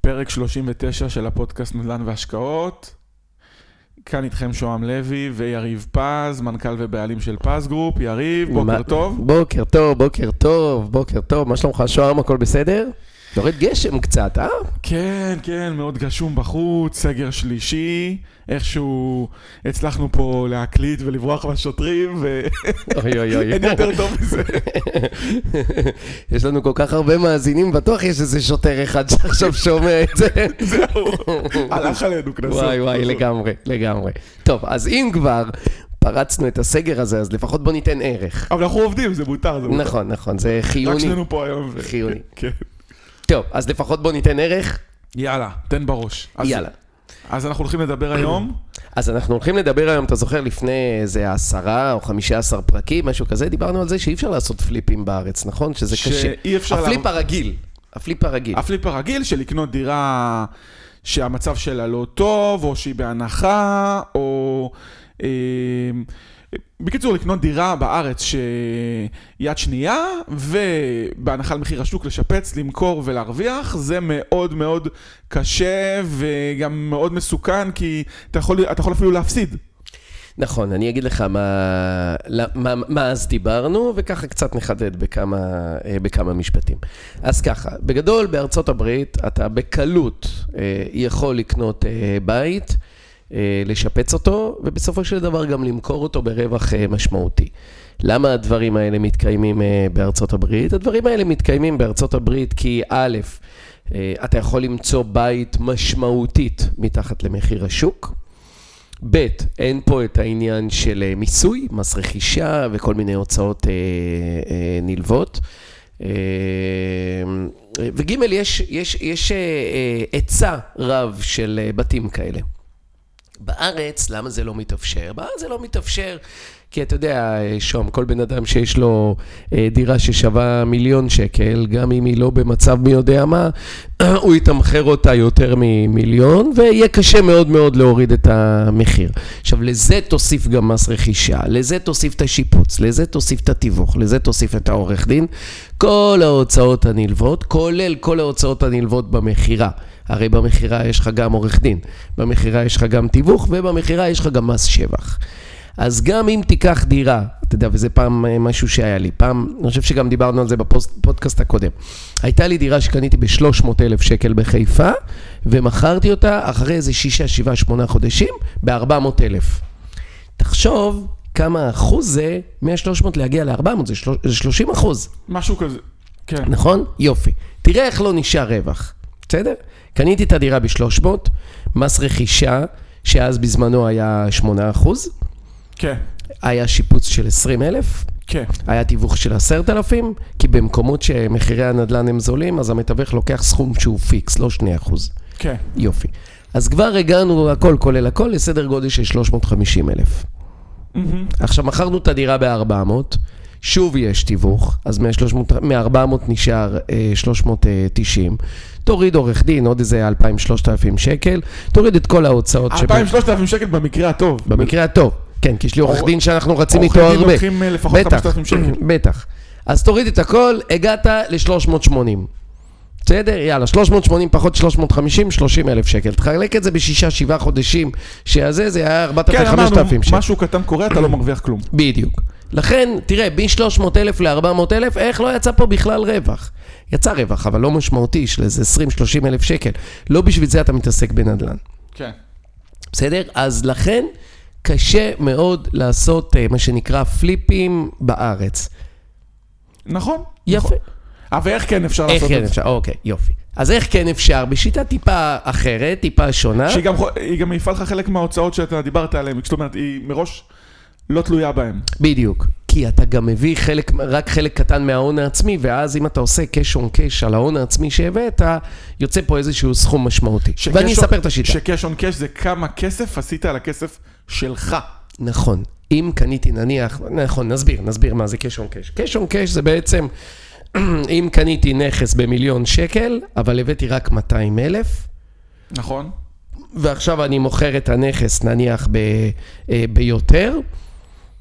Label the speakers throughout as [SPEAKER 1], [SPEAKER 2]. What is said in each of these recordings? [SPEAKER 1] פרק 39 של הפודקאסט נדל"ן והשקעות. כאן איתכם שוהם לוי ויריב פז, מנכ"ל ובעלים של פז גרופ. יריב, בוקר
[SPEAKER 2] מה-
[SPEAKER 1] טוב.
[SPEAKER 2] בוקר טוב, בוקר טוב, בוקר טוב, מה שלומך, שוהם, הכל בסדר? יורד גשם קצת, אה?
[SPEAKER 1] כן, כן, מאוד גשום בחוץ, סגר שלישי, איכשהו הצלחנו פה להקליט ולברוח מהשוטרים, ואין
[SPEAKER 2] אוי אוי אוי.
[SPEAKER 1] יותר טוב מזה.
[SPEAKER 2] יש לנו כל כך הרבה מאזינים, בטוח יש איזה שוטר אחד שעכשיו שומע את זה.
[SPEAKER 1] זהו, הלך עלינו קנסות.
[SPEAKER 2] וואי וואי, לגמרי, לגמרי. טוב, אז אם כבר פרצנו את הסגר הזה, אז לפחות בוא ניתן ערך.
[SPEAKER 1] אבל אנחנו עובדים, זה מותר, זה מותר.
[SPEAKER 2] נכון, נכון, זה
[SPEAKER 1] רק
[SPEAKER 2] חיוני.
[SPEAKER 1] שנינו פה היום. ו-
[SPEAKER 2] חיוני.
[SPEAKER 1] כן.
[SPEAKER 2] טוב, אז לפחות בוא ניתן ערך,
[SPEAKER 1] יאללה, תן בראש. אז-
[SPEAKER 2] יאללה.
[SPEAKER 1] אז אנחנו הולכים לדבר היום.
[SPEAKER 2] אז אנחנו הולכים לדבר היום, אתה זוכר, לפני איזה עשרה או חמישה עשר פרקים, משהו כזה, דיברנו על זה שאי אפשר לעשות פליפים בארץ, נכון? שזה
[SPEAKER 1] שאי
[SPEAKER 2] קשה.
[SPEAKER 1] אפשר
[SPEAKER 2] הפליפ
[SPEAKER 1] לעבוד-
[SPEAKER 2] הרגיל, הפליפ הרגיל.
[SPEAKER 1] הפליפ הרגיל של לקנות דירה שהמצב שלה לא טוב, או שהיא בהנחה, או... אה, בקיצור, לקנות דירה בארץ שיד שנייה, ובהנחה על מחיר השוק לשפץ, למכור ולהרוויח, זה מאוד מאוד קשה וגם מאוד מסוכן, כי אתה יכול, אתה יכול אפילו להפסיד.
[SPEAKER 2] נכון, אני אגיד לך מה, לא- מה, מה אז דיברנו, וככה קצת נחדד בכמה, אה, בכמה משפטים. אז ככה, בגדול בארצות הברית אתה בקלות אה, יכול לקנות אה, בית, אה, לשפץ אותו, ובסופו של דבר גם למכור אותו ברווח אה, משמעותי. למה הדברים האלה מתקיימים אה, בארצות הברית? הדברים האלה מתקיימים בארצות הברית כי א', אה, אתה יכול למצוא בית משמעותית מתחת למחיר השוק. ב', אין פה את העניין של אה, מיסוי, מס רכישה וכל מיני הוצאות אה, אה, נלוות. אה, וג', יש, יש, יש אה, אה, היצע רב של אה, בתים כאלה. בארץ, למה זה לא מתאפשר? בארץ זה לא מתאפשר, כי אתה יודע, שום, כל בן אדם שיש לו אה, דירה ששווה מיליון שקל, גם אם היא לא במצב מי יודע מה, הוא יתמחר אותה יותר ממיליון, ויהיה קשה מאוד מאוד להוריד את המחיר. עכשיו, לזה תוסיף גם מס רכישה, לזה תוסיף את השיפוץ, לזה תוסיף את התיווך, לזה תוסיף את העורך דין, כל ההוצאות הנלוות, כולל כל ההוצאות הנלוות במכירה. הרי במכירה יש לך גם עורך דין, במכירה יש לך גם תיווך ובמכירה יש לך גם מס שבח. אז גם אם תיקח דירה, אתה יודע, וזה פעם אה, משהו שהיה לי, פעם, אני חושב שגם דיברנו על זה בפודקאסט הקודם. הייתה לי דירה שקניתי ב-300,000 שקל בחיפה, ומכרתי אותה אחרי איזה 6, 7, 8 חודשים ב-400,000. תחשוב כמה אחוז זה מה-300 להגיע ל-400, זה שלוש- זה 30 אחוז.
[SPEAKER 1] משהו כזה. כן.
[SPEAKER 2] נכון? יופי. תראה איך לא נשאר רווח, בסדר? קניתי את הדירה ב-300, מס רכישה, שאז בזמנו היה 8%,
[SPEAKER 1] כן.
[SPEAKER 2] היה שיפוץ של 20,000,
[SPEAKER 1] כן.
[SPEAKER 2] היה תיווך של 10,000, כי במקומות שמחירי הנדלן הם זולים, אז המתווך לוקח סכום שהוא פיקס, לא 2%.
[SPEAKER 1] כן.
[SPEAKER 2] יופי. אז כבר הגענו, הכל כולל הכל, לסדר גודל של 350,000.
[SPEAKER 1] מהמם.
[SPEAKER 2] עכשיו, מכרנו את הדירה ב-400, שוב יש תיווך, אז מה-300 מ-400 נשאר אה, 390. תוריד עורך דין, עוד איזה 2,000-3,000 שקל, תוריד את כל ההוצאות שבה-
[SPEAKER 1] 2,000-3,000 שקל במקרה הטוב.
[SPEAKER 2] במקרה הטוב, כן, כי יש לי עורך
[SPEAKER 1] עור-
[SPEAKER 2] דין שאנחנו רצים
[SPEAKER 1] עורכי
[SPEAKER 2] איתו
[SPEAKER 1] דין
[SPEAKER 2] הרבה.
[SPEAKER 1] לוקחים, אה, לפחות 5,000 שקל.
[SPEAKER 2] בטח. אז תוריד את הכל, הגעת ל-380. בסדר? יאללה, 380 פחות 350, 30 אלף שקל. תחלק את זה בשישה, שבעה חודשים, שזה, זה היה
[SPEAKER 1] כן,
[SPEAKER 2] 4,000,
[SPEAKER 1] אמרנו,
[SPEAKER 2] 5,000 שקל.
[SPEAKER 1] משהו קטן קורה, אתה לא מרוויח כלום.
[SPEAKER 2] בדיוק. לכן, תראה, ב-300,000 ל-400,000, איך לא יצא פה בכלל רווח? יצא רווח, אבל לא משמעותי, של איזה 20-30 אלף שקל. לא בשביל זה אתה מתעסק בנדל"ן,
[SPEAKER 1] כן.
[SPEAKER 2] בסדר? אז לכן, קשה מאוד לעשות אה, מה שנקרא פליפים בארץ.
[SPEAKER 1] נכון.
[SPEAKER 2] יפה.
[SPEAKER 1] אבל איך כן אפשר
[SPEAKER 2] איך
[SPEAKER 1] לעשות
[SPEAKER 2] כן
[SPEAKER 1] את זה?
[SPEAKER 2] אפשר? אוקיי, יופי. אז איך כן אפשר? בשיטה טיפה אחרת, טיפה שונה.
[SPEAKER 1] שהיא גם חו- היא גם מעיפה לך חלק מההוצאות שאתה דיברת עליהן, זאת אומרת, היא מראש לא תלויה בהן.
[SPEAKER 2] בדיוק. כי אתה גם מביא חלק, רק חלק קטן מההון העצמי, ואז אם אתה עושה קש און קש על ההון העצמי שהבאת, יוצא פה איזשהו סכום משמעותי.
[SPEAKER 1] שקש
[SPEAKER 2] ואני
[SPEAKER 1] און-
[SPEAKER 2] אספר את השיטה.
[SPEAKER 1] שקש און קש זה כמה כסף עשית על הכסף שלך.
[SPEAKER 2] נכון. אם קניתי נניח, נכון, נסביר, נסביר מה זה קש און קש. קש און קש זה בעצם, אם קניתי נכס במיליון שקל, אבל הבאתי רק 200 אלף,
[SPEAKER 1] נכון?
[SPEAKER 2] ועכשיו אני מוכר את הנכס נניח ב, אה, ביותר.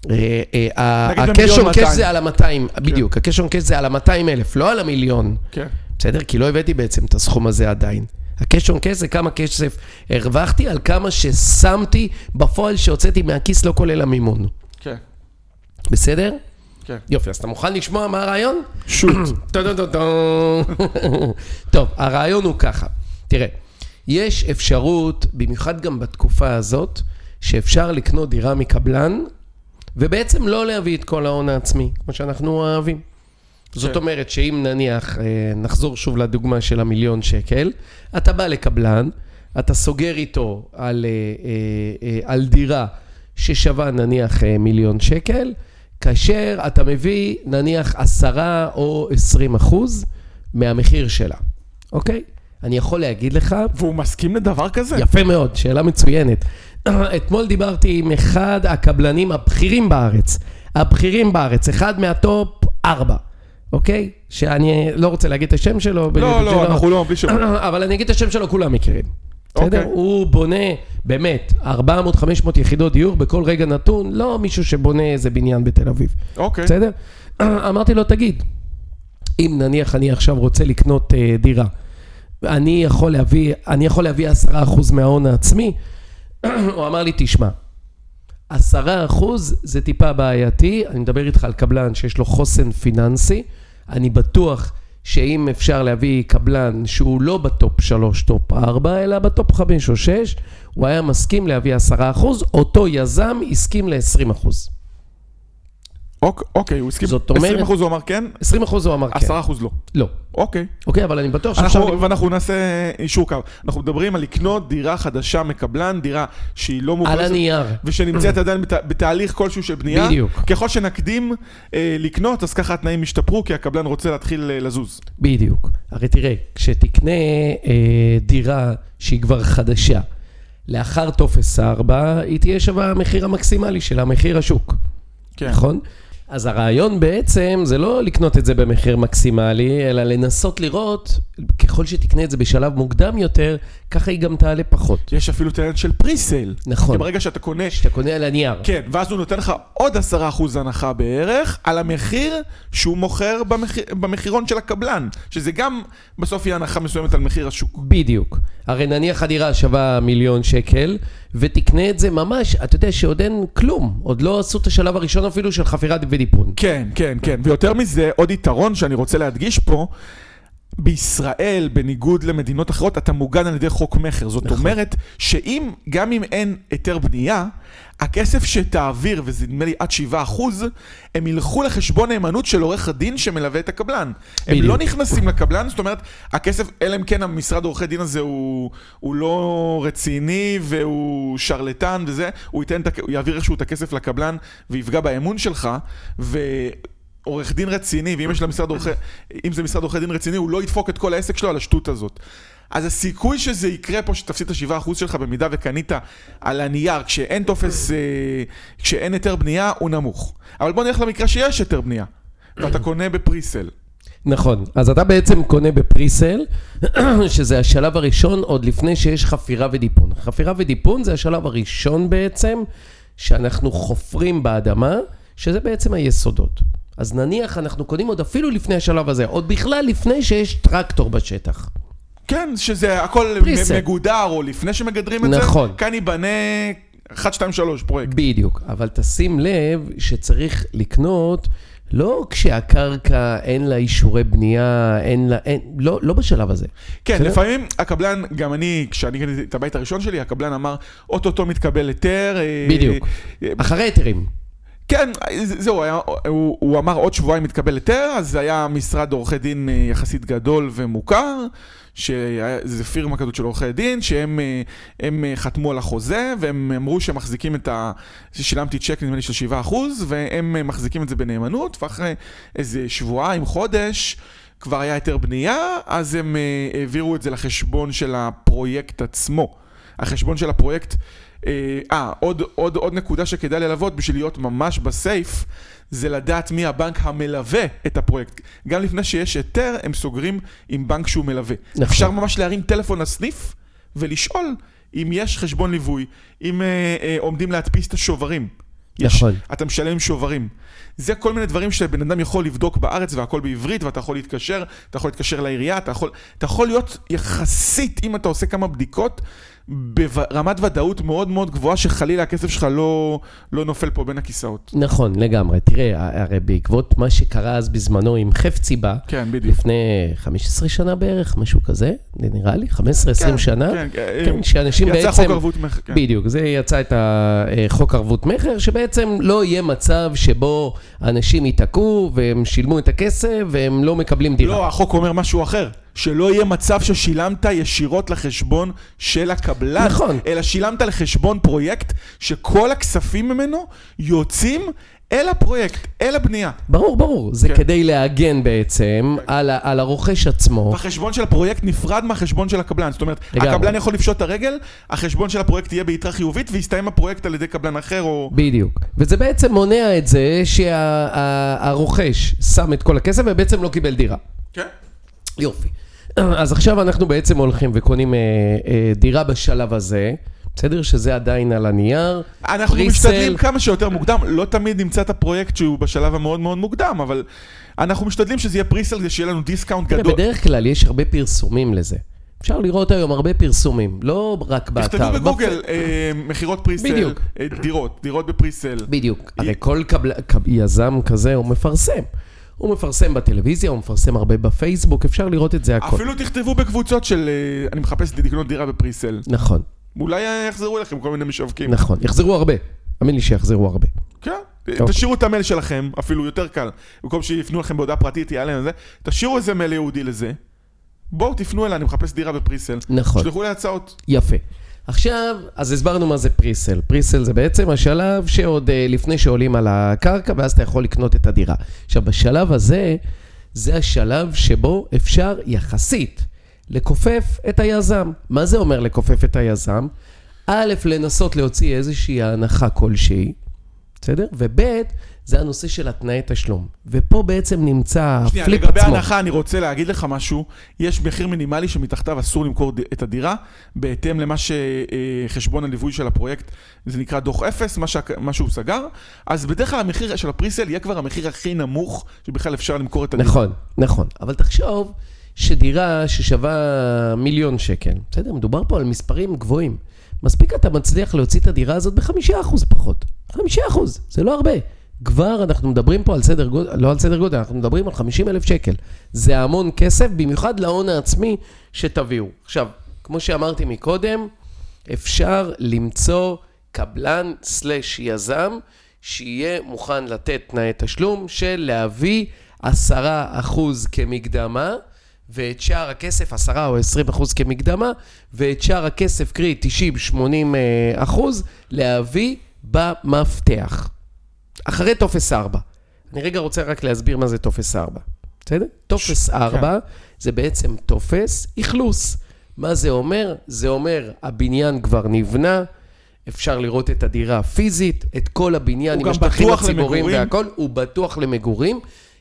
[SPEAKER 2] אה, אה,
[SPEAKER 1] נגיד
[SPEAKER 2] הקש
[SPEAKER 1] במיליון כן.
[SPEAKER 2] און קש
[SPEAKER 1] 200.
[SPEAKER 2] זה על המאתיים, בדיוק, הקש און קש זה על המאתיים אלף, לא על המיליון.
[SPEAKER 1] כן.
[SPEAKER 2] בסדר? כי לא הבאתי בעצם את הסכום הזה עדיין. ה-cash on cash זה כמה כסף הרווחתי על כמה ששמתי בפועל שהוצאתי מהכיס, לא כולל המימון.
[SPEAKER 1] כן,
[SPEAKER 2] בסדר?
[SPEAKER 1] כן.
[SPEAKER 2] יופי, אז אתה מוכן לשמוע מה הרעיון?
[SPEAKER 1] שוט.
[SPEAKER 2] טו-טו-טו-טו. טוב, הרעיון הוא ככה. תראה, יש אפשרות, במיוחד גם בתקופה הזאת, שאפשר לקנות דירה מקבלן, ובעצם לא להביא את כל ההון העצמי, כמו שאנחנו אוהבים. זאת
[SPEAKER 1] כן.
[SPEAKER 2] אומרת שאם נניח, אה, נחזור שוב לדוגמה של המיליון שקל, אתה בא לקבלן, אתה סוגר איתו על, אה, אה, אה, על דירה ששווה נניח אה, מיליון שקל, כאשר אתה מביא נניח עשרה או עשרים אחוז מהמחיר שלה, אוקיי? אני יכול להגיד לך,
[SPEAKER 1] והוא מסכים לדבר כזה?
[SPEAKER 2] יפה מאוד, שאלה מצוינת. אתמול דיברתי עם אחד הקבלנים הבכירים בארץ, הבכירים בארץ, אחד מהטופ ארבע, אוקיי? שאני לא רוצה להגיד את השם שלו.
[SPEAKER 1] לא, לא, אנחנו לא, בלי שם.
[SPEAKER 2] אבל אני אגיד את השם שלו, כולם מכירים. בסדר?
[SPEAKER 1] אוקיי.
[SPEAKER 2] הוא בונה, באמת, 400-500 יחידות דיור בכל רגע נתון, לא מישהו שבונה איזה בניין בתל אביב.
[SPEAKER 1] אוקיי.
[SPEAKER 2] בסדר? אמרתי לו, תגיד, אם נניח אני עכשיו רוצה לקנות אה, דירה, אני יכול להביא, אני יכול להביא עשרה אחוז מההון העצמי? הוא אמר לי, תשמע, עשרה אחוז זה טיפה בעייתי, אני מדבר איתך על קבלן שיש לו חוסן פיננסי, אני בטוח שאם אפשר להביא קבלן שהוא לא בטופ שלוש, טופ ארבע, אלא בטופ חמש או שש, הוא היה מסכים להביא עשרה אחוז, אותו יזם הסכים ל-20 אחוז.
[SPEAKER 1] אוק- אוקיי, הוא הסכים.
[SPEAKER 2] זאת אומרת-
[SPEAKER 1] 20% הוא אמר כן,
[SPEAKER 2] 20 אחוז הוא אמר כן.
[SPEAKER 1] 10% לא.
[SPEAKER 2] לא.
[SPEAKER 1] אוקיי.
[SPEAKER 2] אוקיי, אבל אני בטוח שאפשר...
[SPEAKER 1] אנחנו, ואנחנו נעשה אישור קו. אנחנו מדברים על לקנות דירה חדשה מקבלן, דירה שהיא לא
[SPEAKER 2] על
[SPEAKER 1] מוכרזת,
[SPEAKER 2] הנייר.
[SPEAKER 1] ושנמצאת עדיין בת, בתהליך כלשהו של בנייה.
[SPEAKER 2] בדיוק.
[SPEAKER 1] ככל שנקדים אה, לקנות, אז ככה התנאים ישתפרו, כי הקבלן רוצה להתחיל אה, לזוז.
[SPEAKER 2] בדיוק. הרי תראה, כשתקנה אה, דירה שהיא כבר חדשה, לאחר טופס 4, היא תהיה שווה המחיר המקסימלי שלה, מחיר השוק.
[SPEAKER 1] כן.
[SPEAKER 2] נכון? אז הרעיון בעצם זה לא לקנות את זה במחיר מקסימלי, אלא לנסות לראות, ככל שתקנה את זה בשלב מוקדם יותר, ככה היא גם תעלה פחות.
[SPEAKER 1] יש אפילו את העניין של פריסל.
[SPEAKER 2] נכון.
[SPEAKER 1] כי ברגע שאתה קונה...
[SPEAKER 2] כשאתה קונה על הנייר.
[SPEAKER 1] כן, ואז הוא נותן לך עוד 10% הנחה בערך על המחיר שהוא מוכר במחיר, במחירון של הקבלן, שזה גם בסוף יהיה הנחה מסוימת על מחיר השוק.
[SPEAKER 2] בדיוק. הרי נניח הדירה שווה מיליון שקל, ותקנה את זה ממש, אתה יודע שעוד אין כלום, עוד לא עשו את השלב הראשון אפילו של חפירה ודיפון.
[SPEAKER 1] כן, כן, כן. ויותר מזה, עוד יתרון שאני רוצה להדגיש פה, בישראל, בניגוד למדינות אחרות, אתה מוגן על ידי חוק מכר. זאת
[SPEAKER 2] נכון.
[SPEAKER 1] אומרת, שאם, גם אם אין היתר בנייה, הכסף שתעביר, וזה נדמה לי עד 7 אחוז, הם ילכו לחשבון נאמנות של עורך הדין שמלווה את הקבלן. הם
[SPEAKER 2] בדיוק.
[SPEAKER 1] לא נכנסים לקבלן, זאת אומרת, הכסף, אלא אם כן המשרד עורכי דין הזה הוא, הוא לא רציני והוא שרלטן וזה, הוא, ייתן, את הכ- הוא יעביר איכשהו את הכסף לקבלן ויפגע באמון שלך, ועורך דין רציני, ואם יש למשרד עורכי, אם זה משרד עורכי דין רציני, הוא לא ידפוק את כל העסק שלו על השטות הזאת. אז הסיכוי שזה יקרה פה, שתפסיד את ה-7% שלך במידה וקנית על הנייר, כשאין טופס, אה, כשאין היתר בנייה, הוא נמוך. אבל בוא נלך למקרה שיש היתר בנייה, ואתה קונה בפריסל.
[SPEAKER 2] נכון, אז אתה בעצם קונה בפריסל, שזה השלב הראשון עוד לפני שיש חפירה ודיפון. חפירה ודיפון זה השלב הראשון בעצם, שאנחנו חופרים באדמה, שזה בעצם היסודות. אז נניח אנחנו קונים עוד אפילו לפני השלב הזה, עוד בכלל לפני שיש טרקטור בשטח.
[SPEAKER 1] כן, שזה הכל
[SPEAKER 2] פריסל.
[SPEAKER 1] מ- מגודר, או לפני שמגדרים את
[SPEAKER 2] נכון.
[SPEAKER 1] זה, כאן ייבנה 1, 2, 3 פרויקט.
[SPEAKER 2] בדיוק, אבל תשים לב שצריך לקנות לא כשהקרקע אין לה אישורי בנייה, אין לה, אין, לא, לא בשלב הזה.
[SPEAKER 1] כן,
[SPEAKER 2] בסדר?
[SPEAKER 1] לפעמים הקבלן, גם אני, כשאני קניתי את הבית הראשון שלי, הקבלן אמר, אוטוטו מתקבל היתר. אה,
[SPEAKER 2] בדיוק.
[SPEAKER 1] אה,
[SPEAKER 2] אחרי היתרים.
[SPEAKER 1] כן, זה- זהו, היה- הוא הוא אמר עוד שבועיים מתקבל היתר, אז זה היה משרד עורכי דין אה, יחסית גדול ומוכר, שזה פירמה כזאת של עורכי דין, שהם אה, הם, אה, חתמו על החוזה, והם אמרו שהם מחזיקים את ה... שילמתי צ'ק נדמה לי של 7%, והם אה, מחזיקים את זה בנאמנות, ואחרי איזה שבועיים, חודש, כבר היה היתר בנייה, אז הם אה, העבירו את זה לחשבון של הפרויקט עצמו. החשבון של הפרויקט, אה, אה, עוד, עוד, עוד נקודה שכדאי ללוות בשביל להיות ממש בסייף, זה לדעת מי הבנק המלווה את הפרויקט. גם לפני שיש היתר, הם סוגרים עם בנק שהוא מלווה.
[SPEAKER 2] נכון.
[SPEAKER 1] אפשר ממש להרים טלפון לסניף ולשאול אם יש חשבון ליווי, אם אה, אה, עומדים להדפיס את השוברים. יש,
[SPEAKER 2] נכון.
[SPEAKER 1] אתה משלם שוברים. זה כל מיני דברים שבן אדם יכול לבדוק בארץ והכל בעברית, ואתה יכול להתקשר, אתה יכול להתקשר לעירייה, אתה יכול, אתה יכול להיות יחסית, אם אתה עושה כמה בדיקות, ברמת ודאות מאוד מאוד גבוהה, שחלילה הכסף שלך לא, לא נופל פה בין הכיסאות.
[SPEAKER 2] נכון, לגמרי. תראה, הרי בעקבות מה שקרה אז בזמנו עם חפציבה,
[SPEAKER 1] כן, בדיוק.
[SPEAKER 2] לפני 15 שנה בערך, משהו כזה, נראה לי, 15-20
[SPEAKER 1] כן,
[SPEAKER 2] שנה,
[SPEAKER 1] כן, כן,
[SPEAKER 2] כן, שאנשים בעצם...
[SPEAKER 1] יצא חוק ערבות מכר. כן.
[SPEAKER 2] בדיוק, זה יצא את החוק ערבות מכר, שבעצם לא יהיה מצב שבו אנשים ייתקעו והם שילמו את הכסף והם לא מקבלים דירה.
[SPEAKER 1] לא, החוק אומר משהו אחר. שלא יהיה מצב ששילמת ישירות לחשבון של הקבלן,
[SPEAKER 2] נכון.
[SPEAKER 1] אלא שילמת לחשבון פרויקט שכל הכספים ממנו יוצאים אל הפרויקט, אל הבנייה.
[SPEAKER 2] ברור, ברור. זה
[SPEAKER 1] כן.
[SPEAKER 2] כדי להגן בעצם על, ה- על הרוכש עצמו.
[SPEAKER 1] החשבון של הפרויקט נפרד מהחשבון של הקבלן. זאת אומרת,
[SPEAKER 2] אוקיי. לגמרי.
[SPEAKER 1] הקבלן יכול לפשוט את הרגל, החשבון של הפרויקט יהיה ביתרה חיובית ויסתיים הפרויקט על ידי קבלן אחר או...
[SPEAKER 2] בדיוק. וזה בעצם מונע את זה שהרוכש שם את כל הכסף ובעצם לא קיבל דירה.
[SPEAKER 1] כן.
[SPEAKER 2] יופי. אז עכשיו אנחנו בעצם הולכים וקונים אה, אה, דירה בשלב הזה, בסדר? שזה עדיין על הנייר.
[SPEAKER 1] אנחנו
[SPEAKER 2] pre-sale.
[SPEAKER 1] משתדלים כמה שיותר מוקדם, לא תמיד נמצא את הפרויקט שהוא בשלב המאוד מאוד מוקדם, אבל אנחנו משתדלים שזה יהיה פריסל, כדי שיהיה לנו דיסקאונט
[SPEAKER 2] תראה,
[SPEAKER 1] גדול.
[SPEAKER 2] בדרך כלל יש הרבה פרסומים לזה. אפשר לראות היום הרבה פרסומים, לא רק באתר.
[SPEAKER 1] תכתבו בגוגל
[SPEAKER 2] בפ-
[SPEAKER 1] אה, מכירות פריסל,
[SPEAKER 2] בדיוק.
[SPEAKER 1] אה, דירות, דירות בפריסל.
[SPEAKER 2] בדיוק. הרי כל קבל, קב, יזם כזה הוא מפרסם. הוא מפרסם בטלוויזיה, הוא מפרסם הרבה בפייסבוק, אפשר לראות את זה הכל.
[SPEAKER 1] אפילו תכתבו בקבוצות של אה, אני מחפש לקנות דירה בפריסל.
[SPEAKER 2] נכון,
[SPEAKER 1] אולי אה, יחזרו אליכם כל מיני משווקים.
[SPEAKER 2] נכון. יחזרו הרבה. תאמין לי שיחזרו הרבה.
[SPEAKER 1] כן, תשאירו את המייל שלכם, אפילו יותר קל. במקום שיפנו לכם בהודעה פרטית, יעלה להם זה, תשאירו איזה מייל ייעודי לזה. בואו תפנו אליי, אני מחפש דירה בפריסל.
[SPEAKER 2] נכון.
[SPEAKER 1] שלחו לי הצעות.
[SPEAKER 2] יפה. עכשיו, אז הסברנו מה זה פריסל. פריסל זה בעצם השלב שעוד אה, לפני שעולים על הקרקע, ואז אתה יכול לקנות את הדירה. עכשיו, בשלב הזה, זה השלב שבו אפשר יחסית לכופף את היזם. מה זה אומר לכופף את היזם? א', לנסות להוציא איזושהי הנחה כלשהי, בסדר? וב', זה הנושא של התנאי תשלום. ופה בעצם נמצא
[SPEAKER 1] שנייה,
[SPEAKER 2] הפליפ
[SPEAKER 1] לגבי
[SPEAKER 2] עצמו.
[SPEAKER 1] ההנחה, אני רוצה להגיד לך משהו. יש מחיר מינימלי שמתחתיו אסור למכור ד- את הדירה, בהתאם למה שחשבון הליווי של הפרויקט, זה נקרא דוח אפס, מה שה- מה שהוא סגר. אז בדרך כלל המחיר של הפריסל יהיה כבר המחיר הכי נמוך שבכלל אפשר למכור את הדירה.
[SPEAKER 2] נכון, נכון. אבל תחשוב שדירה ששווה מיליון שקל, בסדר? מדובר פה על מספרים גבוהים. מספיק אתה מצליח להוציא את הדירה הזאת בחמישה אחוז פחות. חמישה אחוז, זה לא הרבה. כבר אנחנו מדברים פה על סדר גודל, לא על סדר גודל, אנחנו מדברים על 50 אלף שקל. זה המון כסף, במיוחד להון העצמי שתביאו. עכשיו, כמו שאמרתי מקודם, אפשר למצוא קבלן סלש יזם שיהיה מוכן לתת תנאי תשלום של להביא 10% כמקדמה ואת שאר הכסף, 10 או 20% כמקדמה ואת שאר הכסף, קרי 90-80 אה, אחוז, להביא במפתח. אחרי טופס 4. אני רגע רוצה רק להסביר מה זה טופס 4, בסדר? טופס 4
[SPEAKER 1] כן.
[SPEAKER 2] זה בעצם טופס אכלוס. מה זה אומר? זה אומר, הבניין כבר נבנה, אפשר לראות את הדירה הפיזית, את כל
[SPEAKER 1] הוא
[SPEAKER 2] הבניין עם
[SPEAKER 1] גם
[SPEAKER 2] השטחים
[SPEAKER 1] בטוח
[SPEAKER 2] הציבוריים
[SPEAKER 1] למגורים.
[SPEAKER 2] והכל, הוא בטוח למגורים.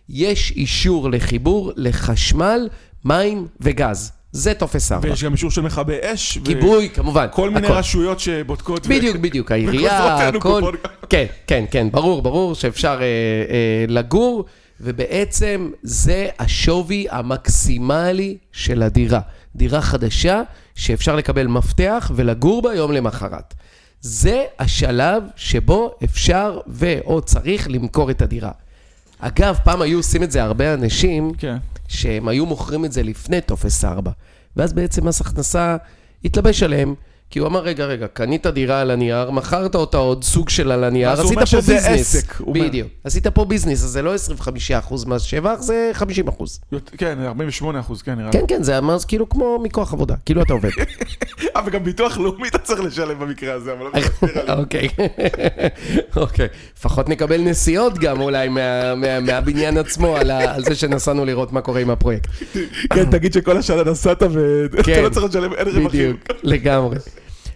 [SPEAKER 2] יש אישור לחיבור לחשמל, מים וגז. זה טופס 4.
[SPEAKER 1] ויש גם אישור של מכבי אש. ו-
[SPEAKER 2] גיבוי, כמובן.
[SPEAKER 1] כל מיני
[SPEAKER 2] הכל.
[SPEAKER 1] רשויות שבודקות. ו-
[SPEAKER 2] בדיוק, בדיוק, העירייה,
[SPEAKER 1] בכוזרותינו
[SPEAKER 2] הכל.
[SPEAKER 1] בפודקאסט.
[SPEAKER 2] כן, כן, כן, ברור, ברור שאפשר אה, אה, לגור, ובעצם זה השווי המקסימלי של הדירה. דירה חדשה שאפשר לקבל מפתח ולגור בה יום למחרת. זה השלב שבו אפשר ואו צריך למכור את הדירה. אגב, פעם היו עושים את זה הרבה אנשים,
[SPEAKER 1] כן.
[SPEAKER 2] שהם היו מוכרים את זה לפני טופס 4. ואז בעצם מס הכנסה התלבש עליהם, כי הוא אמר, רגע, רגע, קנית דירה על הנייר, מכרת אותה עוד סוג של על הנייר,
[SPEAKER 1] אז הוא
[SPEAKER 2] עשית
[SPEAKER 1] אומר
[SPEAKER 2] פה
[SPEAKER 1] שזה
[SPEAKER 2] ביזנס.
[SPEAKER 1] עסק, הוא אומר.
[SPEAKER 2] בדיוק. עשית פה ביזנס, אז זה לא 25% מס שבח, זה 50%.
[SPEAKER 1] יות- כן, 48 אחוז, כן, נראה לי.
[SPEAKER 2] כן, כן, זה המס כאילו כמו מכוח עבודה, כאילו אתה עובד.
[SPEAKER 1] אה, וגם ביטוח לאומי אתה צריך לשלם במקרה הזה, אבל לא מסתכל עליו.
[SPEAKER 2] אוקיי, אוקיי. לפחות נקבל נסיעות גם אולי מה- מה- מהבניין עצמו על ה- על זה שנסענו לראות מה קורה עם הפרויקט.
[SPEAKER 1] כן, תגיד שכל השנה נסעת ואתה
[SPEAKER 2] כן.
[SPEAKER 1] לא צריך לשלם, אין רווחים.
[SPEAKER 2] בדיוק, לגמרי.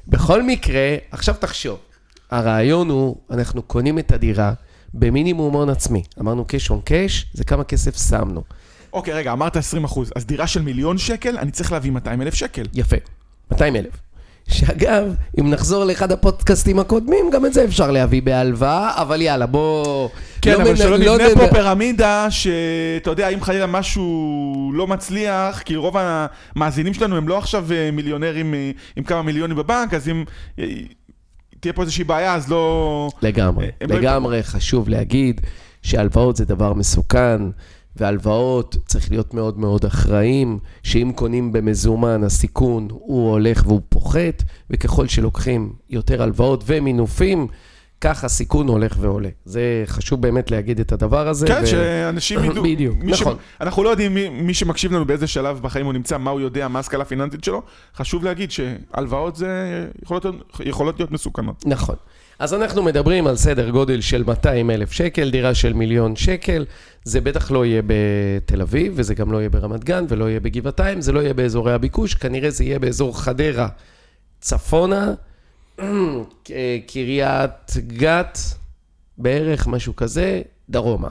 [SPEAKER 2] בכל מקרה, עכשיו תחשוב, הרעיון הוא, אנחנו קונים את הדירה במינימום הון עצמי. אמרנו קש און קש, זה כמה כסף שמנו.
[SPEAKER 1] אוקיי, רגע, אמרת 20 אחוז, אז דירה של מיליון שקל, אני צריך להביא 200 אלף שקל.
[SPEAKER 2] יפה, 200 אלף. שאגב, אם נחזור לאחד הפודקאסטים הקודמים, גם את זה אפשר להביא בהלוואה, אבל יאללה, בוא...
[SPEAKER 1] כן,
[SPEAKER 2] לא
[SPEAKER 1] אבל
[SPEAKER 2] מנ-
[SPEAKER 1] שלא
[SPEAKER 2] לא
[SPEAKER 1] נבנה
[SPEAKER 2] נ-
[SPEAKER 1] פה פירמידה, שאתה יודע, אם חלילה משהו לא מצליח, כי רוב המאזינים שלנו הם לא עכשיו אה, מיליונרים אה, עם כמה מיליונים בבנק, אז אם אה, תהיה פה איזושהי בעיה, אז לא...
[SPEAKER 2] לגמרי,
[SPEAKER 1] הם לא
[SPEAKER 2] לגמרי חשוב להגיד שהלוואות זה דבר מסוכן, והלוואות צריך להיות מאוד מאוד אחראים, שאם קונים במזומן הסיכון הוא הולך והוא פוחת, וככל שלוקחים יותר הלוואות ומינופים, כך הסיכון הולך ועולה. זה חשוב באמת להגיד את הדבר הזה.
[SPEAKER 1] כן,
[SPEAKER 2] ו-
[SPEAKER 1] שאנשים ידעו.
[SPEAKER 2] בדיוק,
[SPEAKER 1] מי
[SPEAKER 2] נכון.
[SPEAKER 1] אנחנו לא יודעים מי, מי שמקשיב לנו באיזה שלב בחיים הוא נמצא, מה הוא יודע, מה ההשכלה הפיננסית שלו. חשוב להגיד שהלוואות זה יכולות, יכולות להיות מסוכנות.
[SPEAKER 2] נכון. אז אנחנו מדברים על סדר גודל של 200 אלף שקל, דירה של מיליון שקל. זה בטח לא יהיה בתל אביב, וזה גם לא יהיה ברמת גן, ולא יהיה בגבעתיים, זה לא יהיה באזורי הביקוש, כנראה זה יהיה באזור חדרה, צפונה, אה, קריית גת, בערך משהו כזה, דרומה.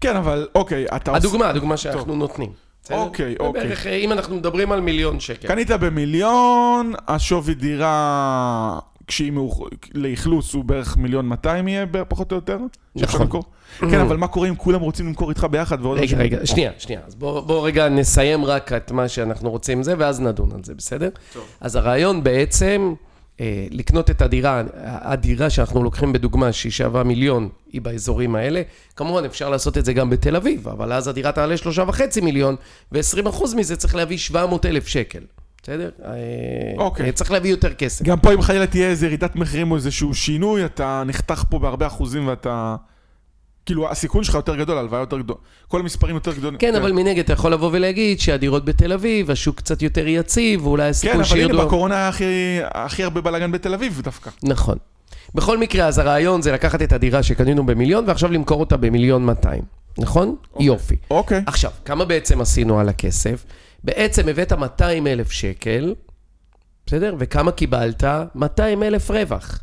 [SPEAKER 1] כן, אבל אוקיי, אתה עושה-
[SPEAKER 2] הדוגמה, הדוגמה שאנחנו נותנים. בסדר?
[SPEAKER 1] אוקיי,
[SPEAKER 2] זה
[SPEAKER 1] אוקיי.
[SPEAKER 2] בערך, אה, אם אנחנו מדברים על מיליון שקל.
[SPEAKER 1] קנית במיליון, השווי דירה כשהיא מאוח... לאכלוס הוא בערך מיליון 200 יהיה ב- פחות או יותר? שאפשר
[SPEAKER 2] נכון.
[SPEAKER 1] למכור? כן, אבל מה קורה אם כולם רוצים למכור איתך ביחד ועוד...
[SPEAKER 2] רגע,
[SPEAKER 1] אנשים-
[SPEAKER 2] רגע, שנייה, שנייה. אז בואו בוא רגע נסיים רק את מה שאנחנו רוצים זה, ואז נדון על זה, בסדר? טוב. אז הרעיון בעצם, אה, לקנות את הדירה, הדירה שאנחנו לוקחים בדוגמה, שהיא שווה מיליון, היא באזורים האלה. כמובן, אפשר לעשות את זה גם בתל אביב, אבל אז הדירה תעלה שלושה וחצי מיליון, ו-20% מזה צריך להביא 700 אלף שקל, בסדר? אה,
[SPEAKER 1] אוקיי.
[SPEAKER 2] אה, צריך להביא יותר כסף.
[SPEAKER 1] גם פה אם חלילה תהיה איזה ירידת מחירים או איזשהו שינוי, אתה נחתך פה בהרבה אחוזים ואתה... כאילו, הסיכון שלך יותר גדול, ההלוואה יותר גדולה. כל המספרים יותר גדולים.
[SPEAKER 2] כן, אבל מנגד אתה יכול לבוא ולהגיד שהדירות בתל אביב, השוק קצת יותר יציב, ואולי
[SPEAKER 1] כן,
[SPEAKER 2] הסיכוי
[SPEAKER 1] אבל
[SPEAKER 2] שירדו...
[SPEAKER 1] הנה, בקורונה היה הכי, הכי הרבה בלאגן בתל אביב דווקא.
[SPEAKER 2] נכון. בכל מקרה, אז הרעיון זה לקחת את הדירה שקנינו במיליון, ועכשיו למכור אותה במיליון 200, נכון? Okay. יופי.
[SPEAKER 1] אוקיי.
[SPEAKER 2] עכשיו, כמה בעצם עשינו על הכסף? בעצם הבאת 200 אלף שקל, בסדר? וכמה קיבלת? 200 אלף רווח,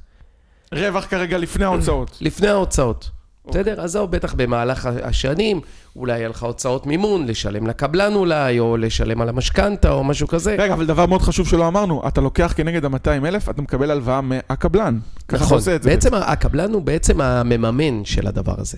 [SPEAKER 1] רווח כרגע לפני ההוצאות.
[SPEAKER 2] לפני ההוצאות.
[SPEAKER 1] אוקיי.
[SPEAKER 2] בסדר? אז זהו, בטח במהלך ה- השנים, אולי היה לך הוצאות מימון, לשלם לקבלן אולי, או לשלם על המשכנתה, או משהו כזה.
[SPEAKER 1] רגע, אבל דבר מאוד חשוב שלא אמרנו, אתה לוקח כנגד ה-200 אלף, אתה מקבל הלוואה מהקבלן. ככה אתה
[SPEAKER 2] נכון.
[SPEAKER 1] עושה את זה.
[SPEAKER 2] בעצם הקבלן הוא בעצם המממן של הדבר הזה.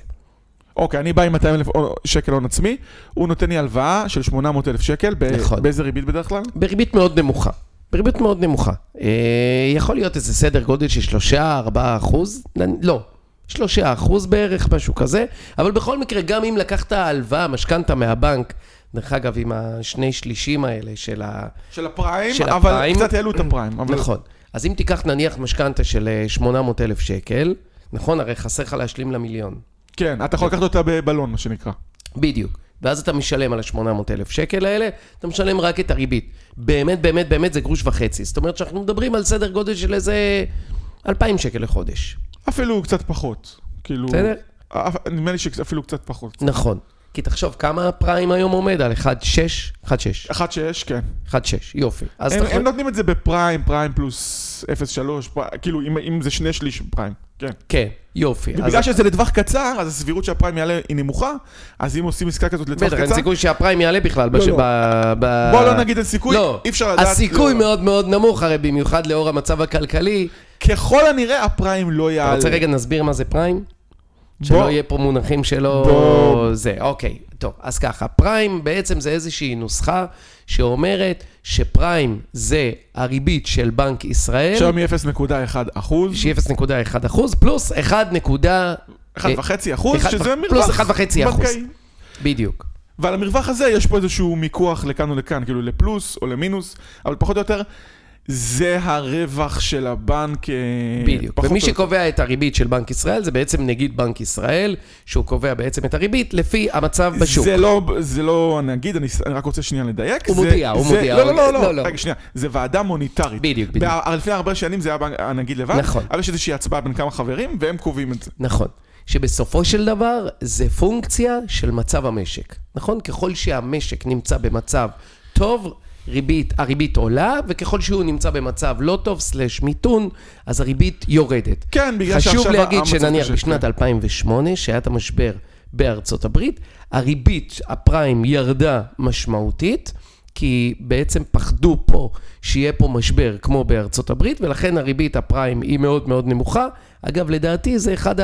[SPEAKER 1] אוקיי, אני בא עם 200 אלף שקל הון עצמי, הוא נותן לי הלוואה של 800 אלף שקל, ב-
[SPEAKER 2] נכון.
[SPEAKER 1] באיזה ריבית בדרך כלל?
[SPEAKER 2] בריבית מאוד נמוכה. בריבית מאוד נמוכה. אה, יכול להיות איזה סדר גודל של שלושה, ארבעה אחוז, נ- לא. שלושה אחוז בערך, משהו כזה, אבל בכל מקרה, גם אם לקחת הלוואה, משכנתה מהבנק, דרך אגב, עם השני שלישים האלה של ה...
[SPEAKER 1] של הפריים,
[SPEAKER 2] של
[SPEAKER 1] אבל
[SPEAKER 2] הפריים.
[SPEAKER 1] קצת העלו את הפריים. אבל-
[SPEAKER 2] נכון. אז אם תיקח נניח משכנתה של אה, 800 אלף שקל, נכון, הרי חסר לך להשלים למיליון.
[SPEAKER 1] כן,
[SPEAKER 2] נכון.
[SPEAKER 1] אתה יכול לקחת אותה בבלון, מה שנקרא.
[SPEAKER 2] בדיוק. ואז אתה משלם על ה-800 אלף שקל האלה, אתה משלם רק את הריבית. באמת, באמת, באמת זה גרוש וחצי. זאת אומרת שאנחנו מדברים על סדר גודל של איזה 2,000 שקל לחודש.
[SPEAKER 1] אפילו קצת פחות. כאילו...
[SPEAKER 2] בסדר?
[SPEAKER 1] אה, נדמה לי שאפילו קצת פחות.
[SPEAKER 2] נכון. כי תחשוב, כמה הפריים היום עומד על 1.6? 1.6.
[SPEAKER 1] 1.6, כן.
[SPEAKER 2] 1.6, יופי. אז
[SPEAKER 1] הם, לא-
[SPEAKER 2] תחשוב-
[SPEAKER 1] הם נותנים את זה בפריים, פריים פלוס 0.3, פר... כאילו אם, אם זה שני שליש פריים, כן.
[SPEAKER 2] כן, יופי. אז-
[SPEAKER 1] ובגלל שזה לטווח קצר, אז הסבירות שהפריים יעלה היא נמוכה, אז אם עושים עסקה כזאת לטווח
[SPEAKER 2] בטח, אין
[SPEAKER 1] קצר,
[SPEAKER 2] סיכוי שהפריים יעלה בכלל. בש-
[SPEAKER 1] לא.
[SPEAKER 2] ב- ב-
[SPEAKER 1] בוא לא נגיד אין סיכוי,
[SPEAKER 2] לא,
[SPEAKER 1] אי אפשר לדעת.
[SPEAKER 2] הסיכוי
[SPEAKER 1] לא.
[SPEAKER 2] מאוד מאוד נמוך, הרי במיוחד לאור המצב הכלכלי.
[SPEAKER 1] ככל הנראה הפריים לא יעלה.
[SPEAKER 2] אתה רוצה רגע נסביר מה זה פריים?
[SPEAKER 1] בוא.
[SPEAKER 2] שלא יהיה פה מונחים שלא...
[SPEAKER 1] בוא.
[SPEAKER 2] זה, אוקיי. טוב, אז ככה, פריים בעצם זה איזושהי נוסחה שאומרת שפריים זה הריבית של בנק ישראל,
[SPEAKER 1] שם היא 0.1 אחוז,
[SPEAKER 2] שהיא 0.1 אחוז, פלוס 1 נקודה...
[SPEAKER 1] 1.5 אחוז,
[SPEAKER 2] אחד
[SPEAKER 1] שזה
[SPEAKER 2] וח-
[SPEAKER 1] מרווח.
[SPEAKER 2] פלוס 1.5 אחוז.
[SPEAKER 1] בנקאי.
[SPEAKER 2] בדיוק.
[SPEAKER 1] ועל המרווח הזה יש פה איזשהו מיקוח לכאן או לכאן, כאילו לפלוס או למינוס, אבל פחות או יותר, זה הרווח של הבנק. אה,
[SPEAKER 2] בדיוק.
[SPEAKER 1] פחות
[SPEAKER 2] ומי
[SPEAKER 1] או יותר.
[SPEAKER 2] שקובע את הריבית של בנק ישראל זה בעצם נגיד בנק ישראל, שהוא קובע בעצם את הריבית לפי המצב בשוק.
[SPEAKER 1] זה לא, זה לא הנגיד, אני, אני רק רוצה שנייה לדייק.
[SPEAKER 2] הוא
[SPEAKER 1] זה,
[SPEAKER 2] מודיע, הוא
[SPEAKER 1] זה,
[SPEAKER 2] מודיע,
[SPEAKER 1] לא,
[SPEAKER 2] הוא-
[SPEAKER 1] לא, לא,
[SPEAKER 2] לא,
[SPEAKER 1] לא,
[SPEAKER 2] לא.
[SPEAKER 1] רגע, שנייה. זה ועדה מוניטרית.
[SPEAKER 2] בדיוק, בדיוק.
[SPEAKER 1] בה- לפני הרבה שנים זה היה בנק- הנגיד לבד.
[SPEAKER 2] נכון.
[SPEAKER 1] אבל יש איזושהי הצבעה בין כמה חברים, והם קובעים את זה.
[SPEAKER 2] נכון. שבסופו של דבר זה פונקציה של מצב המשק, נכון? ככל שהמשק נמצא במצב טוב, ריבית, הריבית עולה, וככל שהוא נמצא במצב לא טוב, סלש מיתון, אז הריבית יורדת.
[SPEAKER 1] כן, בגלל
[SPEAKER 2] חשוב
[SPEAKER 1] שעכשיו
[SPEAKER 2] להגיד
[SPEAKER 1] המצב
[SPEAKER 2] שנניח
[SPEAKER 1] קשה,
[SPEAKER 2] בשנת 2008, שהיה את המשבר בארצות הברית, הריבית, הפריים, ירדה משמעותית, כי בעצם פחדו פה שיהיה פה משבר כמו בארצות הברית, ולכן הריבית הפריים היא מאוד מאוד נמוכה. אגב, לדעתי זה אחד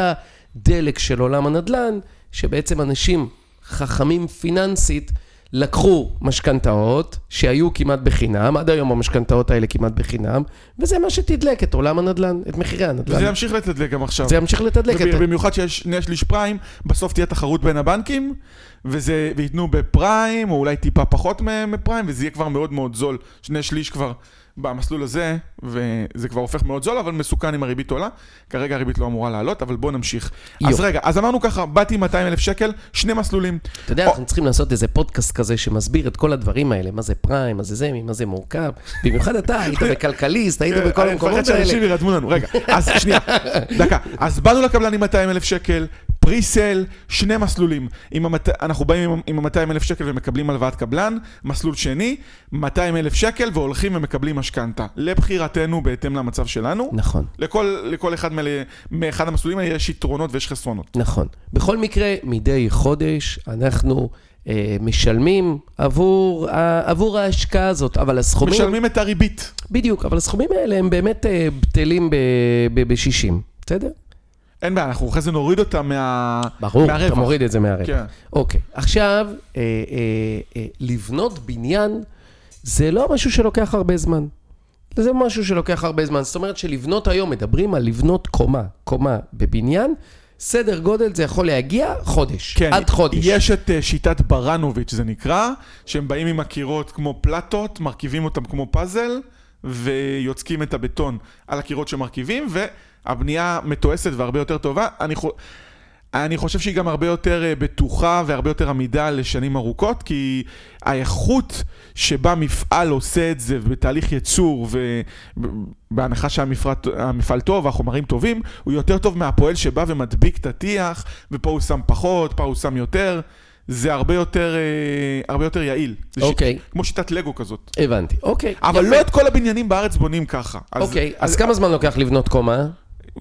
[SPEAKER 2] הדלק של עולם הנדל"ן, שבעצם אנשים חכמים פיננסית לקחו משכנתאות שהיו כמעט בחינם, עד היום המשכנתאות האלה כמעט בחינם, וזה מה שתדלק את עולם הנדל"ן, את מחירי
[SPEAKER 1] וזה
[SPEAKER 2] הנדל"ן.
[SPEAKER 1] ימשיך לתדלק גם עכשיו.
[SPEAKER 2] זה ימשיך לתדלק את
[SPEAKER 1] וב- במיוחד שיש שני שליש פריים, בסוף תהיה תחרות בין הבנקים, וזה, וייתנו בפריים, או אולי טיפה פחות מ- מפריים, וזה יהיה כבר מאוד מאוד זול. שני שליש כבר במסלול הזה, וזה כבר הופך מאוד זול, אבל מסוכן אם הריבית עולה. כרגע הריבית לא אמורה לעלות, אבל בואו נמשיך.
[SPEAKER 2] יופי.
[SPEAKER 1] אז רגע, אז אמרנו ככה, באתי עם 200 אלף שקל, שני מסלולים.
[SPEAKER 2] אתה יודע,
[SPEAKER 1] או-
[SPEAKER 2] אנחנו צריכים לעשות איזה פודקאסט כזה שמסביר את כל הדברים האלה, מה זה פריים, מה זה זה, ממה זה מורכב. במיוחד אתה, היית בכלכליסט, היית כאילו, בכל
[SPEAKER 1] כן, אני מפחד
[SPEAKER 2] המקומות
[SPEAKER 1] שאנשים
[SPEAKER 2] האלה.
[SPEAKER 1] ירדמו לנו, רגע, אז שנייה, דקה. אז באנו לקבלן עם 200 אלף שקל, פריסל, שני מסלולים. עם המת... אנחנו באים עם ה-200 אלף שקל ומקבלים הלוואת קבלן, מסלול שני, 200 אלף שקל והולכים ומקבלים משכנתה. לבחירתנו בהתאם למצב שלנו.
[SPEAKER 2] נכון.
[SPEAKER 1] לכל, לכל אחד מאלה, מאחד המסלולים האלה יש יתרונות ויש חסרונות.
[SPEAKER 2] נכון. בכל מקרה, מדי חודש אנחנו אה, משלמים עבור, ה- עבור ההשקעה הזאת, אבל הסכומים...
[SPEAKER 1] משלמים את הריבית.
[SPEAKER 2] בדיוק, אבל הסכומים האלה הם באמת אה, בטלים ב-60, בסדר?
[SPEAKER 1] אין בעיה, אנחנו אחרי זה נוריד אותה מה...
[SPEAKER 2] ברור,
[SPEAKER 1] מהרווח.
[SPEAKER 2] אתה מוריד את זה מהרווח.
[SPEAKER 1] כן.
[SPEAKER 2] אוקיי, עכשיו, אה, אה, אה, לבנות בניין זה לא משהו שלוקח הרבה זמן. זה משהו שלוקח הרבה זמן. זאת אומרת שלבנות היום, מדברים על לבנות קומה, קומה בבניין, סדר גודל זה יכול להגיע חודש,
[SPEAKER 1] כן,
[SPEAKER 2] עד חודש.
[SPEAKER 1] יש את אה, שיטת ברנוביץ', זה נקרא, שהם באים עם הקירות כמו פלטות, מרכיבים אותם כמו פאזל, ויוצקים את הבטון על הקירות שמרכיבים, והבנייה מתועסת והרבה יותר טובה. אני, חו... אני חושב שהיא גם הרבה יותר אה, בטוחה והרבה יותר עמידה לשנים ארוכות, כי האיכות שבה מפעל עושה את זה בתהליך ייצור, ובהנחה שהמפעל טוב, החומרים טובים, הוא יותר טוב מהפועל שבא ומדביק את הטיח, ופה הוא שם פחות, פה הוא שם יותר. זה הרבה יותר, אה, הרבה יותר יעיל. זה
[SPEAKER 2] אוקיי.
[SPEAKER 1] כמו שיטת לגו כזאת.
[SPEAKER 2] הבנתי, אוקיי.
[SPEAKER 1] אבל
[SPEAKER 2] יפה.
[SPEAKER 1] לא את כל הבניינים בארץ בונים ככה. אז-
[SPEAKER 2] אוקיי, אז כמה זמן לוקח לבנות קומה?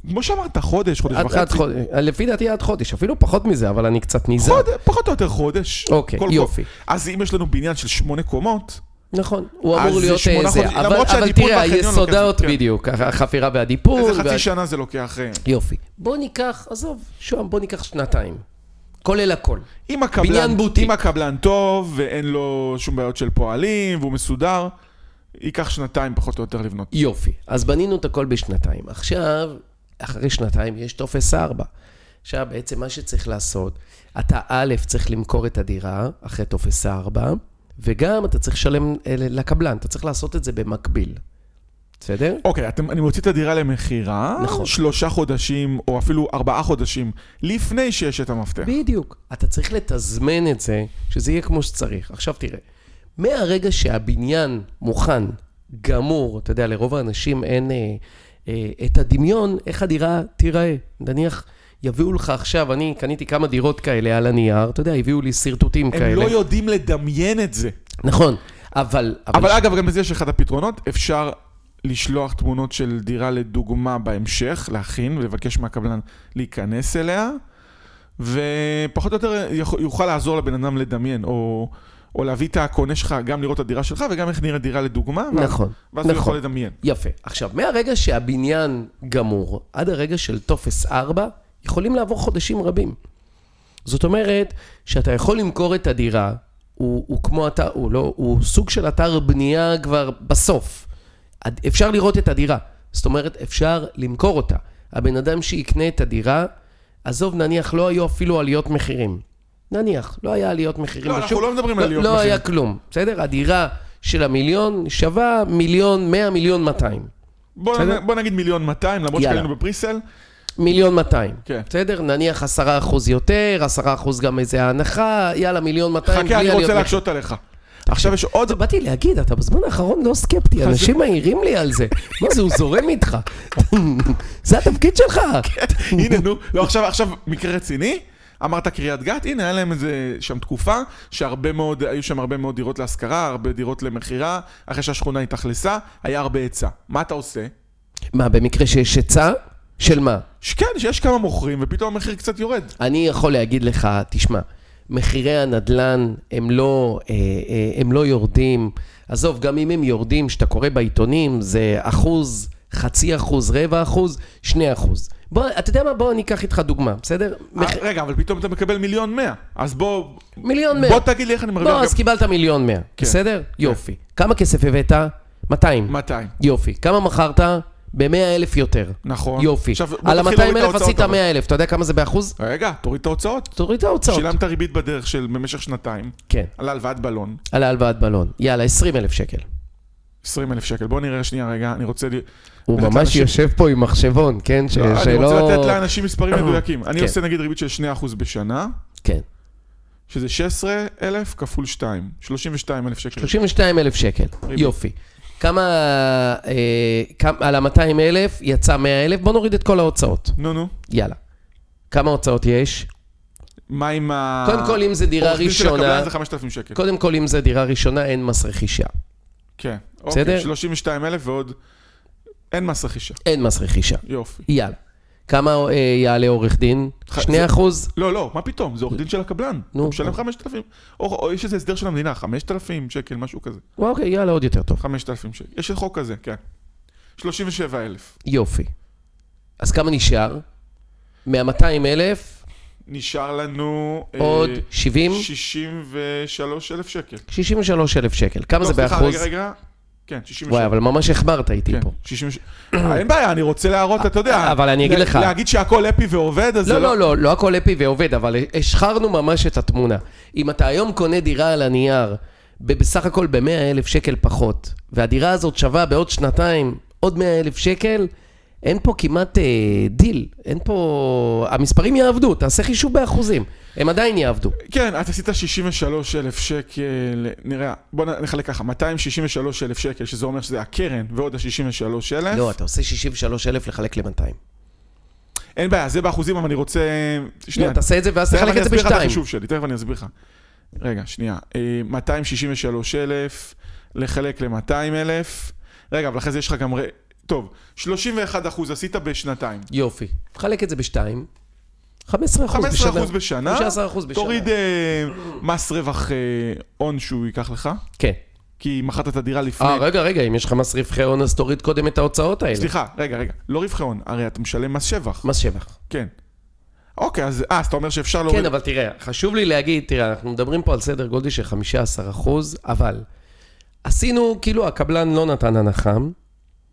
[SPEAKER 1] כמו שאמרת, חודש, חודש
[SPEAKER 2] עד- עד
[SPEAKER 1] וחצי.
[SPEAKER 2] חודש. לפי דעתי עד חודש, אפילו פחות מזה, אבל אני קצת נזהר.
[SPEAKER 1] חודש, פחות או יותר חודש.
[SPEAKER 2] אוקיי,
[SPEAKER 1] כל-
[SPEAKER 2] יופי.
[SPEAKER 1] אז אם יש לנו בניין של שמונה קומות,
[SPEAKER 2] נכון, הוא
[SPEAKER 1] אז
[SPEAKER 2] אמור
[SPEAKER 1] זה
[SPEAKER 2] להיות
[SPEAKER 1] שמונה
[SPEAKER 2] אה, זה,
[SPEAKER 1] חודשים,
[SPEAKER 2] אבל,
[SPEAKER 1] למרות
[SPEAKER 2] אבל
[SPEAKER 1] שהדיפול
[SPEAKER 2] תראה,
[SPEAKER 1] בחניון לוקח,
[SPEAKER 2] היסודות
[SPEAKER 1] כן.
[SPEAKER 2] בדיוק, הח- החפירה והדיפול.
[SPEAKER 1] איזה
[SPEAKER 2] וה-
[SPEAKER 1] חצי שנה זה לוקח. אה,
[SPEAKER 2] יופי. בוא ניקח, עזוב, שוהם, בוא ניקח שנתיים. כולל הכל.
[SPEAKER 1] אם הקבלן,
[SPEAKER 2] בניין בוטיק.
[SPEAKER 1] אם הקבלן טוב, ואין לו שום בעיות של פועלים, והוא מסודר, ייקח שנתיים פחות או יותר לבנות.
[SPEAKER 2] יופי. אז בנינו את הכל בשנתיים. עכשיו, אחרי שנתיים יש טופס 4. עכשיו, בעצם מה שצריך לעשות, אתה א', צריך למכור את הדירה אחרי טופס 4, וגם אתה צריך לשלם אה, לקבלן, אתה צריך לעשות את זה במקביל. בסדר?
[SPEAKER 1] אוקיי, אתם, אני מוציא את הדירה למכירה,
[SPEAKER 2] נכון.
[SPEAKER 1] שלושה חודשים, או אפילו ארבעה חודשים, לפני שיש את המפתח.
[SPEAKER 2] בדיוק. אתה צריך לתזמן את זה, שזה יהיה כמו שצריך. עכשיו תראה, מהרגע שהבניין מוכן, גמור, אתה יודע, לרוב האנשים אין אה, אה, את הדמיון, איך הדירה תיראה. נניח, יביאו לך עכשיו, אני קניתי כמה דירות כאלה על הנייר, אתה יודע, הביאו לי שרטוטים
[SPEAKER 1] הם
[SPEAKER 2] כאלה.
[SPEAKER 1] לא יודעים לדמיין את זה.
[SPEAKER 2] נכון, אבל...
[SPEAKER 1] אבל אגב, גם לזה יש אחד הפתרונות, אפשר לשלוח תמונות של דירה לדוגמה בהמשך, להכין, לבקש מהקבלן להיכנס אליה, ופחות או יותר יכול- יוכל לעזור לבן אדם לדמיין, או, או להביא את הקונה שלך, גם לראות את הדירה שלך וגם איך נראית דירה לדוגמה, ואז,
[SPEAKER 2] נכון,
[SPEAKER 1] ואז הוא
[SPEAKER 2] נכון.
[SPEAKER 1] יכול לדמיין.
[SPEAKER 2] יפה. עכשיו, מהרגע שהבניין גמור עד הרגע של טופס 4, יכולים לעבור חודשים רבים. זאת אומרת, שאתה יכול למכור את הדירה, הוא, הוא כמו אתר, הוא לא, הוא סוג של אתר בנייה כבר בסוף. עד- אפשר לראות את הדירה. זאת אומרת, אפשר למכור אותה. הבן אדם שיקנה את הדירה, עזוב, נניח, לא היו אפילו עליות מחירים. נניח, לא היה עליות מחירים
[SPEAKER 1] לא,
[SPEAKER 2] בשוק.
[SPEAKER 1] אנחנו לא מדברים על עליות
[SPEAKER 2] לא
[SPEAKER 1] מחירים.
[SPEAKER 2] היה כלום, בסדר? הדירה של המיליון שווה מיליון, מאה, מיליון, מאתיים.
[SPEAKER 1] בוא,
[SPEAKER 2] בסדר?
[SPEAKER 1] נ, בוא נגיד מיליון 200, למרות
[SPEAKER 2] יאללה.
[SPEAKER 1] שקנינו בפריסל,
[SPEAKER 2] מיליון 200,
[SPEAKER 1] כן.
[SPEAKER 2] בסדר? נניח עשרה אחוז יותר, עשרה אחוז גם איזה הנחה, יאללה מיליון 200.
[SPEAKER 1] חכה, אני רוצה להקשות עליך. עכשיו יש עוד...
[SPEAKER 2] באתי להגיד, אתה בזמן האחרון לא סקפטי, אנשים מעירים לי על זה. מה זה, הוא זורם איתך. זה התפקיד שלך.
[SPEAKER 1] כן. הנה, נו, לא, עכשיו, עכשיו מקרה רציני. אמרת קריית גת, הנה, היה להם איזה שם תקופה, שהרבה מאוד, היו שם הרבה מאוד דירות להשכרה, הרבה דירות למכירה, אחרי שהשכונה התאכלסה, היה הרבה היצע. מה אתה עושה?
[SPEAKER 2] מה, במקרה שיש היצע? של מה?
[SPEAKER 1] כן, שכן, שיש כמה מוכרים, ופתאום המחיר קצת יורד. אה,
[SPEAKER 2] אני יכול להגיד לך, תשמע, מחירי הנדלן הם לא, אה, אה, הם לא יורדים. עזוב, גם אם הם יורדים, שאתה קורא בעיתונים, זה אחוז, חצי אחוז, רבע אחוז, שני אחוז. בוא, אתה יודע מה? בוא אני אקח איתך דוגמה, בסדר? מח...
[SPEAKER 1] אה, רגע, אבל פתאום אתה מקבל מיליון מאה, אז בוא...
[SPEAKER 2] מיליון מאה.
[SPEAKER 1] בוא תגיד לי איך אני מרוויח
[SPEAKER 2] בוא,
[SPEAKER 1] גם- כן.
[SPEAKER 2] אז קיבלת מיליון מאה, בסדר? יופי. כמה כסף הבאת? 200.
[SPEAKER 1] 200.
[SPEAKER 2] יופי. כמה מכרת? ב-100 אלף יותר.
[SPEAKER 1] נכון.
[SPEAKER 2] יופי.
[SPEAKER 1] עכשיו, בוא
[SPEAKER 2] על
[SPEAKER 1] תתחיל
[SPEAKER 2] ה-200
[SPEAKER 1] להוריד את
[SPEAKER 2] אלף
[SPEAKER 1] ההוצאות,
[SPEAKER 2] עשית
[SPEAKER 1] אבל.
[SPEAKER 2] 100 אלף, אתה יודע כמה זה באחוז?
[SPEAKER 1] רגע, תוריד את ההוצאות.
[SPEAKER 2] תוריד את ההוצאות.
[SPEAKER 1] שילמת ריבית בדרך של במשך שנתיים,
[SPEAKER 2] כן,
[SPEAKER 1] על הלוואת בלון,
[SPEAKER 2] על ההלוואת בלון. יאללה, 20 אלף שקל.
[SPEAKER 1] 20 אלף שקל. בוא נראה שנייה רגע, אני רוצה... ל-
[SPEAKER 2] הוא
[SPEAKER 1] לתת
[SPEAKER 2] ממש
[SPEAKER 1] לאנשים-
[SPEAKER 2] יושב פה עם מחשבון, כן? ש-
[SPEAKER 1] לא, אני
[SPEAKER 2] שלא...
[SPEAKER 1] רוצה לתת לאנשים מספרים מדויקים. אני
[SPEAKER 2] כן.
[SPEAKER 1] עושה נגיד ריבית של 2% בשנה,
[SPEAKER 2] כן,
[SPEAKER 1] שזה 16,000 כפול 2, 32,000 שקל.
[SPEAKER 2] 32 אלף שקל.
[SPEAKER 1] ריבית.
[SPEAKER 2] יופי. כמה... אה, כמה- על ה-200 אלף יצא 100 אלף, בוא נוריד את כל ההוצאות.
[SPEAKER 1] נו, נו.
[SPEAKER 2] יאללה. כמה הוצאות יש?
[SPEAKER 1] מה עם ה...
[SPEAKER 2] קודם כל, אם זה דירה
[SPEAKER 1] אה, עורך דין של
[SPEAKER 2] ראשונה...
[SPEAKER 1] הקבלן זה 5,000 שקל.
[SPEAKER 2] קודם כל, אם זה דירה ראשונה, אין מס רכישה.
[SPEAKER 1] כן.
[SPEAKER 2] בסדר?
[SPEAKER 1] אוקיי, 32,000 ועוד... אין מס רכישה.
[SPEAKER 2] אין מס רכישה.
[SPEAKER 1] יופי.
[SPEAKER 2] יאללה. כמה אה, יעלה עורך דין?
[SPEAKER 1] ח-
[SPEAKER 2] 2
[SPEAKER 1] זה-
[SPEAKER 2] אחוז?
[SPEAKER 1] לא, לא, מה פתאום? זה עורך דין של הקבלן.
[SPEAKER 2] נו.
[SPEAKER 1] הוא משלם 5,000. או, או יש איזה הסדר של המדינה, 5,000 שקל, משהו כזה.
[SPEAKER 2] אוקיי, יאללה, עוד יותר טוב.
[SPEAKER 1] 5,000 שקל. יש חוק כזה, כן. 37,000.
[SPEAKER 2] יופי. אז כמה נשאר? מה-200 אלף,
[SPEAKER 1] נשאר לנו... אה,
[SPEAKER 2] עוד 70?
[SPEAKER 1] 63,000 שקל.
[SPEAKER 2] 63 אלף שקל. כמה
[SPEAKER 1] לא,
[SPEAKER 2] זה
[SPEAKER 1] סליחה,
[SPEAKER 2] באחוז?
[SPEAKER 1] רגע, רגע. כן, 63.
[SPEAKER 2] וואי, אבל ממש החמרת איתי
[SPEAKER 1] כן,
[SPEAKER 2] פה. אה,
[SPEAKER 1] 63. אה, אין בעיה, אני רוצה להראות, אתה יודע.
[SPEAKER 2] אבל אני אגיד
[SPEAKER 1] לה-
[SPEAKER 2] לך.
[SPEAKER 1] להגיד שהכל אפי ועובד, אז זה
[SPEAKER 2] לא,
[SPEAKER 1] לא...
[SPEAKER 2] לא, לא, לא הכל אפי ועובד, אבל השחרנו ממש את התמונה. אם אתה היום קונה דירה על הנייר, ב- בסך הכל ב-100 אלף שקל פחות, והדירה הזאת שווה בעוד שנתיים עוד 100 אלף שקל, אין פה כמעט אה, דיל, אין פה... המספרים יעבדו, תעשה חישוב באחוזים, הם עדיין יעבדו.
[SPEAKER 1] כן, את עשית 63,000 שקל, נראה, בוא נ- נחלק ככה, 263,000 שקל, שזה אומר שזה הקרן, ועוד ה-63,000.
[SPEAKER 2] לא, אתה עושה 63 אלף לחלק ל-200.
[SPEAKER 1] אין בעיה, זה באחוזים, אבל אני רוצה...
[SPEAKER 2] לא,
[SPEAKER 1] שנייה,
[SPEAKER 2] תעשה את זה ואז
[SPEAKER 1] תכף
[SPEAKER 2] תחלק
[SPEAKER 1] אני
[SPEAKER 2] את זה
[SPEAKER 1] אסביר לך את
[SPEAKER 2] בשתיים.
[SPEAKER 1] החישוב שלי, תכף אני אסביר לך. רגע, שנייה. אה, 263,000 לחלק ל-200,000. רגע, אבל אחרי זה יש לך גם... ר- טוב, 31 אחוז עשית בשנתיים.
[SPEAKER 2] יופי. תחלק את זה בשתיים. 15 אחוז
[SPEAKER 1] 15
[SPEAKER 2] בשנה.
[SPEAKER 1] אחוז בשנה,
[SPEAKER 2] 15 אחוז בשנה.
[SPEAKER 1] תוריד אה, מס רווח אה, הון שהוא ייקח לך,
[SPEAKER 2] כן.
[SPEAKER 1] כי מכרת את הדירה לפני.
[SPEAKER 2] אה, רגע, רגע, אם יש לך מס רווחי הון, אז תוריד קודם את ההוצאות האלה.
[SPEAKER 1] סליחה, רגע, רגע, לא רווחי הון, הרי אתה משלם מס שבח,
[SPEAKER 2] מס שבח.
[SPEAKER 1] כן. אוקיי, אז אה, אז אתה אומר שאפשר להוריד...
[SPEAKER 2] אה. כן, אבל תראה, חשוב לי להגיד, תראה, אנחנו מדברים פה על סדר גודל של 15 אחוז, אבל עשינו, כאילו, הקבלן לא נתן הנחה.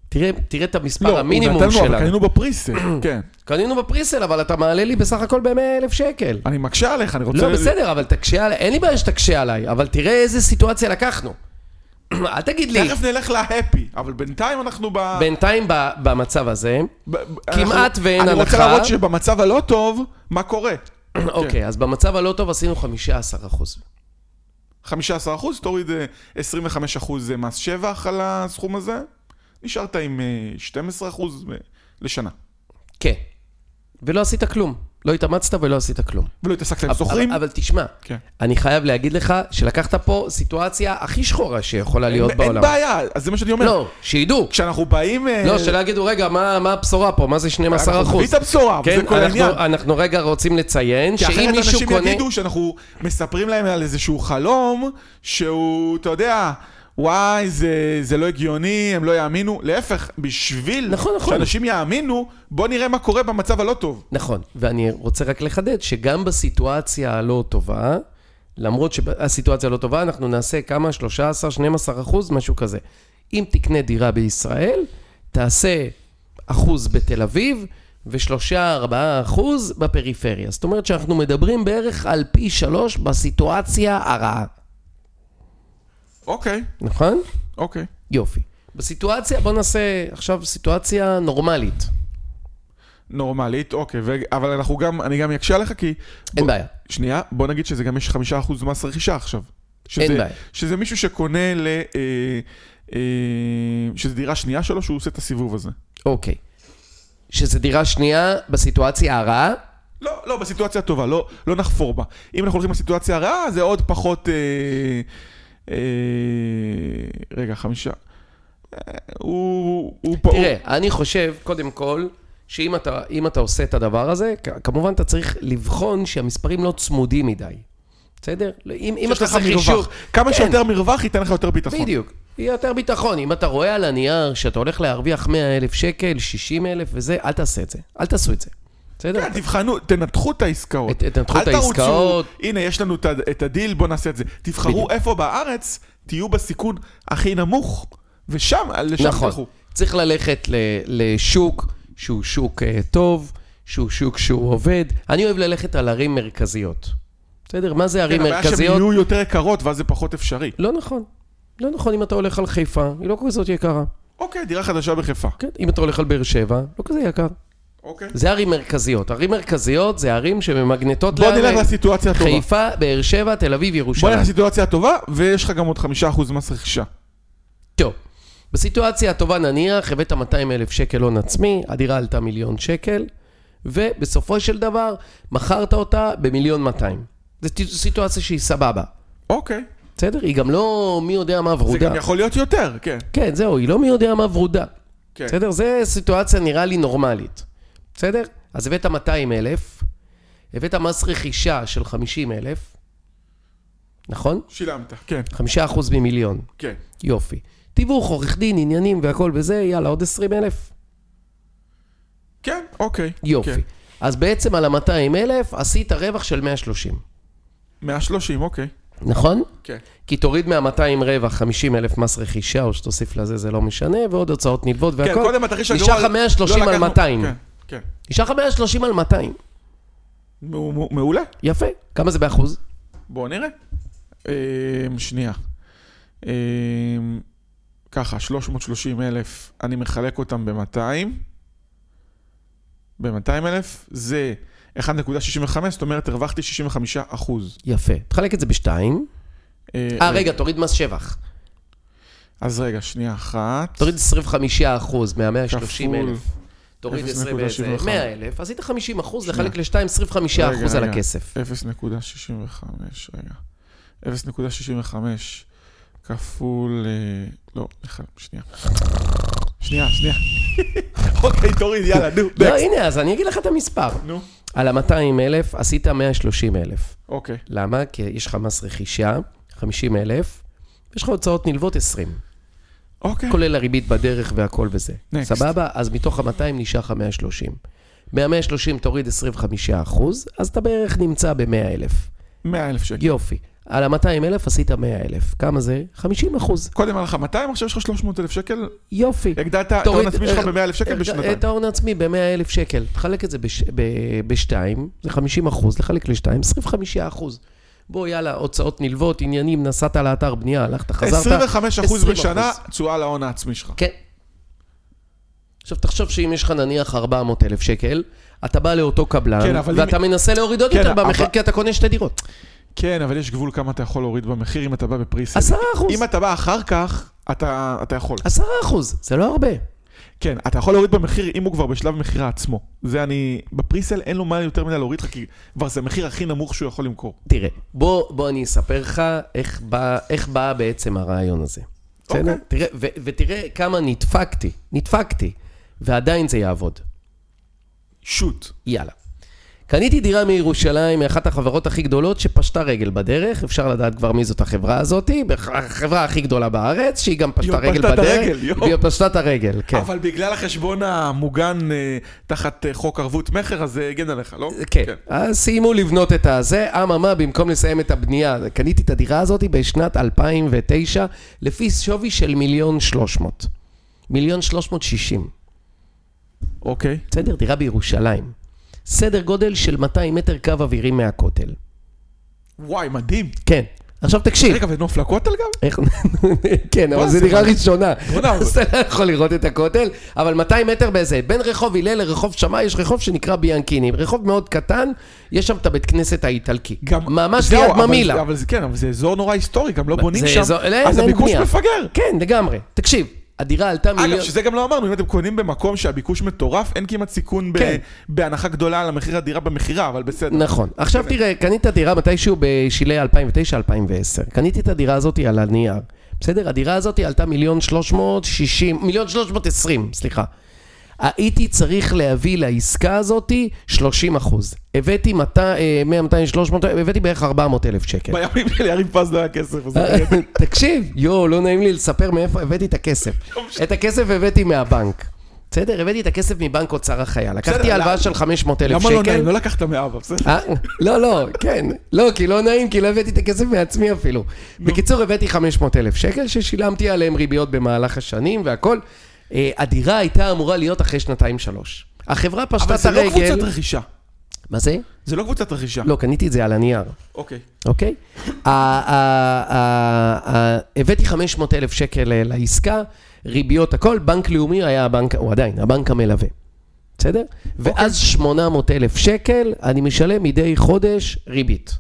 [SPEAKER 2] תראה, תראה את המספר
[SPEAKER 1] לא, הוא
[SPEAKER 2] המינימום
[SPEAKER 1] נתן לו, אבל
[SPEAKER 2] שלנו.
[SPEAKER 1] קנינו בפריסל, כן.
[SPEAKER 2] קנינו בפריסל, אבל אתה מעלה לי בסך הכל ב-100 אלף שקל.
[SPEAKER 1] אני מקשה עליך, אני רוצה...
[SPEAKER 2] לא, בסדר, אבל תקשה עליי, אין לי בעיה שתקשה עליי, אבל תראה איזה סיטואציה לקחנו. אל תגיד לי,
[SPEAKER 1] תכף נלך להפי, אבל בינתיים אנחנו ב...
[SPEAKER 2] בינתיים ב- במצב הזה,
[SPEAKER 1] ב- ב-
[SPEAKER 2] כמעט
[SPEAKER 1] אנחנו-
[SPEAKER 2] ואין
[SPEAKER 1] אני רוצה
[SPEAKER 2] הנחה.
[SPEAKER 1] להראות שבמצב הלא טוב, מה קורה?
[SPEAKER 2] אוקיי, אז במצב הלא טוב עשינו 15 אחוז.
[SPEAKER 1] 15 אחוז, תוריד אה, 25 אחוז אה, מס שבח על הסכום הזה, נשארת עם אה, 12 אחוז לשנה.
[SPEAKER 2] כן. ולא עשית כלום. לא התאמצת ולא עשית כלום.
[SPEAKER 1] ולא התעסקת עם
[SPEAKER 2] אבל-
[SPEAKER 1] סוחרים?
[SPEAKER 2] אבל, אבל תשמע,
[SPEAKER 1] כן.
[SPEAKER 2] אני חייב להגיד לך שלקחת פה סיטואציה הכי שחורה שיכולה להיות
[SPEAKER 1] אין
[SPEAKER 2] בעולם.
[SPEAKER 1] בעיה, אז זה מה שאני אומר.
[SPEAKER 2] לא, שידעו.
[SPEAKER 1] כשאנחנו באים... אה,
[SPEAKER 2] לא, שלא יגידו, רגע, מה מה הבשורה פה? מה זה 12
[SPEAKER 1] אנחנו נביא
[SPEAKER 2] אחוז?
[SPEAKER 1] את הבשורה, אבל זה
[SPEAKER 2] כן,
[SPEAKER 1] כל
[SPEAKER 2] אנחנו-
[SPEAKER 1] העניין.
[SPEAKER 2] אנחנו רגע רוצים לציין
[SPEAKER 1] כי
[SPEAKER 2] שאם
[SPEAKER 1] אחרת
[SPEAKER 2] מישהו
[SPEAKER 1] אנשים
[SPEAKER 2] קונה...
[SPEAKER 1] יגידו שאנחנו מספרים להם על איזשהו חלום שהוא, אתה יודע, וואי, זה, זה לא הגיוני, הם לא יאמינו. להפך, בשביל
[SPEAKER 2] נכון, נכון.
[SPEAKER 1] שאנשים יאמינו, בוא נראה מה קורה במצב הלא טוב.
[SPEAKER 2] נכון, ואני רוצה רק לחדד שגם בסיטואציה הלא טובה, למרות שהסיטואציה לא טובה, אנחנו נעשה כמה? 13, 12 אחוז, משהו כזה. אם תקנה דירה בישראל, תעשה אחוז בתל אביב ושלושה, ארבעה אחוז בפריפריה. זאת אומרת שאנחנו מדברים בערך על פי שלוש בסיטואציה הרעה,
[SPEAKER 1] אוקיי,
[SPEAKER 2] נכון?
[SPEAKER 1] אוקיי.
[SPEAKER 2] יופי. בסיטואציה, בוא נעשה עכשיו סיטואציה נורמלית.
[SPEAKER 1] נורמלית, אוקיי, ו... אבל אנחנו גם, אני גם אקשה עליך כי...
[SPEAKER 2] אין בעיה.
[SPEAKER 1] שנייה, בוא נגיד שזה גם יש חמישה אחוז מס רכישה עכשיו. שזה,
[SPEAKER 2] אין בעיה.
[SPEAKER 1] שזה מישהו שקונה ל... אה, אה, שזה דירה שנייה שלו, שהוא עושה את הסיבוב הזה.
[SPEAKER 2] אוקיי. שזה דירה שנייה בסיטואציה הרעה,
[SPEAKER 1] לא, לא, בסיטואציה הטובה, לא, לא נחפור בה. אם אנחנו הולכים לסיטואציה הרעה, זה עוד פחות... אה, אה, רגע, חמישה. אה, הוא... הוא פה...
[SPEAKER 2] תראה, אני חושב, קודם כל, שאם אתה, אם אתה עושה את הדבר הזה, כ- כמובן אתה צריך לבחון שהמספרים לא צמודים מדי. בסדר? לא, אם, אם
[SPEAKER 1] יש
[SPEAKER 2] אתה
[SPEAKER 1] לך
[SPEAKER 2] עושה חישוב...
[SPEAKER 1] מרווח. נכון. כמה
[SPEAKER 2] כן,
[SPEAKER 1] שיותר מרווח ייתן לך יותר ביטחון.
[SPEAKER 2] בדיוק. יהיה יותר ביטחון. אם אתה רואה על הנייר שאתה הולך להרוויח 100 אלף שקל, 60 אלף וזה, אל תעשה את זה. אל תעשו את זה. בסדר?
[SPEAKER 1] כן, תבחנו, תנתחו את העסקאות.
[SPEAKER 2] ת- תנתחו
[SPEAKER 1] אל
[SPEAKER 2] לא. את
[SPEAKER 1] תרוצו,
[SPEAKER 2] העסקאות.
[SPEAKER 1] הנה, יש לנו את ה- את הדיל, בואו נעשה את זה. תבחרו
[SPEAKER 2] בדיוק.
[SPEAKER 1] איפה בארץ תהיו בסיכון הכי נמוך, ושם, לשם
[SPEAKER 2] נכון.
[SPEAKER 1] תלכו.
[SPEAKER 2] צריך ללכת ל, לשוק שהוא שוק אה, טוב, שהוא שוק שהוא עובד. אני אוהב ללכת על ערים מרכזיות. בסדר? מה זה ערים
[SPEAKER 1] כן, הבעיה שהן
[SPEAKER 2] מרכזיות?
[SPEAKER 1] יהיו יותר יקרות, ואז זה פחות אפשרי.
[SPEAKER 2] לא נכון. לא נכון אם אתה הולך על חיפה, היא לא כזאת יקרה.
[SPEAKER 1] אוקיי, דירה חדשה בחיפה.
[SPEAKER 2] כן, אם אתה הולך על באר שבע, לא כזה יקר.
[SPEAKER 1] אוקיי.
[SPEAKER 2] זה ערים מרכזיות. ערים מרכזיות זה ערים שממגנטות
[SPEAKER 1] בוא
[SPEAKER 2] לערים.
[SPEAKER 1] נלך לסיטואציה הטובה.
[SPEAKER 2] חיפה, באר שבע, תל אביב,
[SPEAKER 1] בוא
[SPEAKER 2] ירושלים.
[SPEAKER 1] נלך לסיטואציה הטובה, ויש לך גם עוד חמישה אחוז מס רכישה.
[SPEAKER 2] טוב, בסיטואציה הטובה נניח, הבאת 200 אלף שקל הון עצמי, הדירה עלתה מיליון שקל, ובסופו של דבר, מכרת אותה במיליון 200. זו ט- סיטואציה שהיא סבבה,
[SPEAKER 1] אוקיי.
[SPEAKER 2] בסדר? היא גם לא מי יודע מה
[SPEAKER 1] זה
[SPEAKER 2] ורודה.
[SPEAKER 1] גם יכול להיות יותר, כן.
[SPEAKER 2] כן, זהו, היא לא מי יודע מה ורודה.
[SPEAKER 1] כן.
[SPEAKER 2] בסדר? זו סיטואציה נראה לי נורמלית. בסדר? אז הבאת 200 אלף, הבאת מס רכישה של 50 אלף, נכון?
[SPEAKER 1] שילמת. כן,
[SPEAKER 2] 5% ממיליון.
[SPEAKER 1] כן.
[SPEAKER 2] יופי. תיווך, עורך דין, עניינים והכל וזה, יאללה, עוד 20 אלף.
[SPEAKER 1] כן, אוקיי.
[SPEAKER 2] יופי.
[SPEAKER 1] כן.
[SPEAKER 2] כן. אז בעצם על ה-200 אלף עשית רווח של 130,
[SPEAKER 1] 130, אוקיי.
[SPEAKER 2] נכון?
[SPEAKER 1] כן.
[SPEAKER 2] כי תוריד מה-200 רווח 50 אלף מס רכישה, או שתוסיף לזה, זה לא משנה, ועוד הוצאות נלוות והכל.
[SPEAKER 1] כן, קודם התרחיש הגרוע...
[SPEAKER 2] נשאר לך 130
[SPEAKER 1] לא
[SPEAKER 2] על
[SPEAKER 1] לקחנו-
[SPEAKER 2] 200.
[SPEAKER 1] כן, כן.
[SPEAKER 2] נשאר לך 130 על 200.
[SPEAKER 1] מעו- מעו- מעולה.
[SPEAKER 2] יפה. כמה זה באחוז?
[SPEAKER 1] בואו נראה. אמ, שנייה. אמ, ככה, 330 אלף, אני מחלק אותם ב-200. ב-200 אלף, זה 1.65, זאת אומרת, הרווחתי 65 אחוז.
[SPEAKER 2] יפה. תחלק את זה בשתיים. אה, רגע, תוריד מס שבח.
[SPEAKER 1] אז רגע, שנייה אחת.
[SPEAKER 2] תוריד 25 אחוז מה-130
[SPEAKER 1] כפול.
[SPEAKER 2] אלף. תוריד
[SPEAKER 1] 0.71.
[SPEAKER 2] 20 אלף, 100 אלף, עשית 50 אחוז,
[SPEAKER 1] שנייה.
[SPEAKER 2] לחלק ל-2, 25
[SPEAKER 1] רגע,
[SPEAKER 2] אחוז על
[SPEAKER 1] רגע.
[SPEAKER 2] הכסף.
[SPEAKER 1] 0.65, רגע. 0.65 כפול... אה, לא, בכלל, שנייה. שנייה, שנייה. אוקיי, תוריד, יאללה, נו,
[SPEAKER 2] לא,
[SPEAKER 1] next.
[SPEAKER 2] הנה, אז אני אגיד לך את המספר.
[SPEAKER 1] נו.
[SPEAKER 2] על ה-200 אלף עשית 130 אלף.
[SPEAKER 1] אוקיי.
[SPEAKER 2] למה? כי יש לך מס רכישה, 50 אלף, ויש לך הוצאות נלוות 20,
[SPEAKER 1] אוקיי.
[SPEAKER 2] כולל הריבית בדרך והכל וזה.
[SPEAKER 1] Next.
[SPEAKER 2] סבבה? אז מתוך ה-200 נשאר לך 130. מה-130 תוריד 25 אחוז, אז אתה בערך נמצא ב-100 אלף.
[SPEAKER 1] 100 אלף שקל.
[SPEAKER 2] יופי. על ה-200 אלף עשית 100 אלף. כמה זה? 50 אחוז.
[SPEAKER 1] קודם היה לך 200, עכשיו יש לך 300 אלף שקל,
[SPEAKER 2] יופי.
[SPEAKER 1] הגדלת את ההון
[SPEAKER 2] תוריד-
[SPEAKER 1] העצמי שלך
[SPEAKER 2] אה,
[SPEAKER 1] ב-100 אלף שקל
[SPEAKER 2] אה,
[SPEAKER 1] בשנתיים.
[SPEAKER 2] את ההון העצמי ב-100 אלף שקל. תחלק את זה בש- ב- בשתיים, זה 50 אחוז, לחלק לשתיים, 25 אחוז. בוא, יאללה, הוצאות נלוות, עניינים, נסעת לאתר בנייה, הלכת, חזרת.
[SPEAKER 1] 25 אחוז
[SPEAKER 2] 20%.
[SPEAKER 1] בשנה, תשואה להון העצמי שלך.
[SPEAKER 2] כן. עכשיו, תחשוב שאם יש לך נניח 400 אלף שקל, אתה בא לאותו
[SPEAKER 1] כן,
[SPEAKER 2] קבלן,
[SPEAKER 1] אבל
[SPEAKER 2] ואתה מנסה להוריד עוד
[SPEAKER 1] כן,
[SPEAKER 2] יותר במחיר,
[SPEAKER 1] אבל-
[SPEAKER 2] כי אתה קונה שתי דירות.
[SPEAKER 1] כן, אבל יש גבול כמה אתה יכול להוריד במחיר אם אתה בא בפריסל.
[SPEAKER 2] 10 אחוז.
[SPEAKER 1] אם אתה בא אחר כך, אתה אתה יכול.
[SPEAKER 2] 10 אחוז, זה לא הרבה.
[SPEAKER 1] כן, אתה יכול להוריד במחיר אם הוא כבר בשלב מכירה עצמו. זה אני... בפריסל אין לו מה יותר מדי להוריד לך, כי כבר זה המחיר הכי נמוך שהוא יכול למכור.
[SPEAKER 2] תראה, בוא, בוא אני אספר לך איך בא, איך בא בעצם הרעיון הזה. בסדר?
[SPEAKER 1] אוקיי.
[SPEAKER 2] תראה, ו, ותראה כמה נדפקתי, נדפקתי, ועדיין זה יעבוד.
[SPEAKER 1] שוט.
[SPEAKER 2] יאללה. קניתי דירה מירושלים מאחת החברות הכי גדולות שפשטה רגל בדרך, אפשר לדעת כבר מי זאת החברה הזאתי, בח- החברה הכי גדולה בארץ, שהיא גם פשטה
[SPEAKER 1] יואו,
[SPEAKER 2] רגל
[SPEAKER 1] פשטה את
[SPEAKER 2] בדרך,
[SPEAKER 1] הרגל, יואו.
[SPEAKER 2] והיא פשטה את הרגל, כן.
[SPEAKER 1] כן. אבל בגלל החשבון המוגן אה, תחת אה, חוק ערבות מכר, אז זה הגן עליך, לא?
[SPEAKER 2] כן, אז סיימו לבנות את הזה, אממה, במקום לסיים את הבנייה, קניתי את הדירה הזאת בשנת 2009, לפי שווי של מיליון שלוש מאות. מיליון שלוש מאות שישים.
[SPEAKER 1] אוקיי.
[SPEAKER 2] בסדר? דירה בירושלים. סדר גודל של 200 מטר קו אווירי מהכותל.
[SPEAKER 1] וואי, מדהים.
[SPEAKER 2] כן. עכשיו תקשיב.
[SPEAKER 1] רגע, ונוף לכותל גם?
[SPEAKER 2] איך... כן, אבל
[SPEAKER 1] וואי,
[SPEAKER 2] זו
[SPEAKER 1] זה
[SPEAKER 2] דירה
[SPEAKER 1] מדהים.
[SPEAKER 2] ראשונה.
[SPEAKER 1] בוא'נה, אבל-
[SPEAKER 2] אז אתה לא יכול לראות את הכותל, אבל 200 מטר באיזה, בין רחוב הלל לרחוב שמאי, יש רחוב שנקרא ביאנקיני. רחוב מאוד קטן, יש שם את הבית כנסת האיטלקי. ממש
[SPEAKER 1] זהו,
[SPEAKER 2] ליד
[SPEAKER 1] אבל-
[SPEAKER 2] ממילה.
[SPEAKER 1] אבל זה כן, אבל זה אזור נורא היסטורי, גם לא בונים
[SPEAKER 2] זה
[SPEAKER 1] שם,
[SPEAKER 2] אזור- לא,
[SPEAKER 1] אז
[SPEAKER 2] אין
[SPEAKER 1] הביקוש
[SPEAKER 2] בנייה.
[SPEAKER 1] מפגר.
[SPEAKER 2] כן, לגמרי. תקשיב, הדירה עלתה מיליון...
[SPEAKER 1] אגב, שזה גם לא אמרנו, אם אתם קונים במקום שהביקוש מטורף, אין כמעט סיכון ב-
[SPEAKER 2] כן.
[SPEAKER 1] בהנחה גדולה על המחיר הדירה במכירה, אבל בסדר.
[SPEAKER 2] נכון. עכשיו תראה, קנית דירה מתישהו בשלהי 2009-2010. קניתי את הדירה הזאת על הנייר. בסדר? הדירה הזאת עלתה מיליון 360, מיליון 320, סליחה. הייתי צריך להביא לעסקה הזאתי 30 אחוז. הבאתי 200, אה, 100, 200, 300, הבאתי בערך 400 אלף שקל.
[SPEAKER 1] בימים של יריב פז לא היה כסף, אז
[SPEAKER 2] אה, תקשיב, יואו, לא נעים לי לספר מאיפה הבאתי את הכסף. את הכסף הבאתי מהבנק. בסדר, הבאתי את הכסף מבנק אוצר החייל. לקחתי
[SPEAKER 1] בסדר, לא-
[SPEAKER 2] הלוואה
[SPEAKER 1] למה-
[SPEAKER 2] של 500 אלף
[SPEAKER 1] למה
[SPEAKER 2] אה, שקל.
[SPEAKER 1] לא נעים? לא לקחת מאבא, בסדר?
[SPEAKER 2] אה? לא, לא, כן. לא, כי לא נעים, כי לא הבאתי את הכסף מעצמי אפילו. בקיצור, הבאתי 500 אלף שקל ששילמתי עליהם ריביות במהלך השנים והכל. אה, הדירה הייתה אמורה להיות אחרי שנתיים-שלוש. החברה
[SPEAKER 1] אבל
[SPEAKER 2] פשטה את
[SPEAKER 1] זה לא
[SPEAKER 2] הרגל...
[SPEAKER 1] קבוצת רכישה.
[SPEAKER 2] מה זה?
[SPEAKER 1] זה לא קבוצת רכישה.
[SPEAKER 2] לא, קניתי את זה על הנייר.
[SPEAKER 1] אוקיי.
[SPEAKER 2] אוקיי? ה- ה- ה- ה- הבאתי 500 אלף שקל אה, לעסקה, ריביות הכל, בנק לאומי היה הבנק, הוא עדיין, הבנק המלווה, בסדר?
[SPEAKER 1] אוקיי.
[SPEAKER 2] ואז 800 אלף שקל, אני משלם מדי חודש ריבית.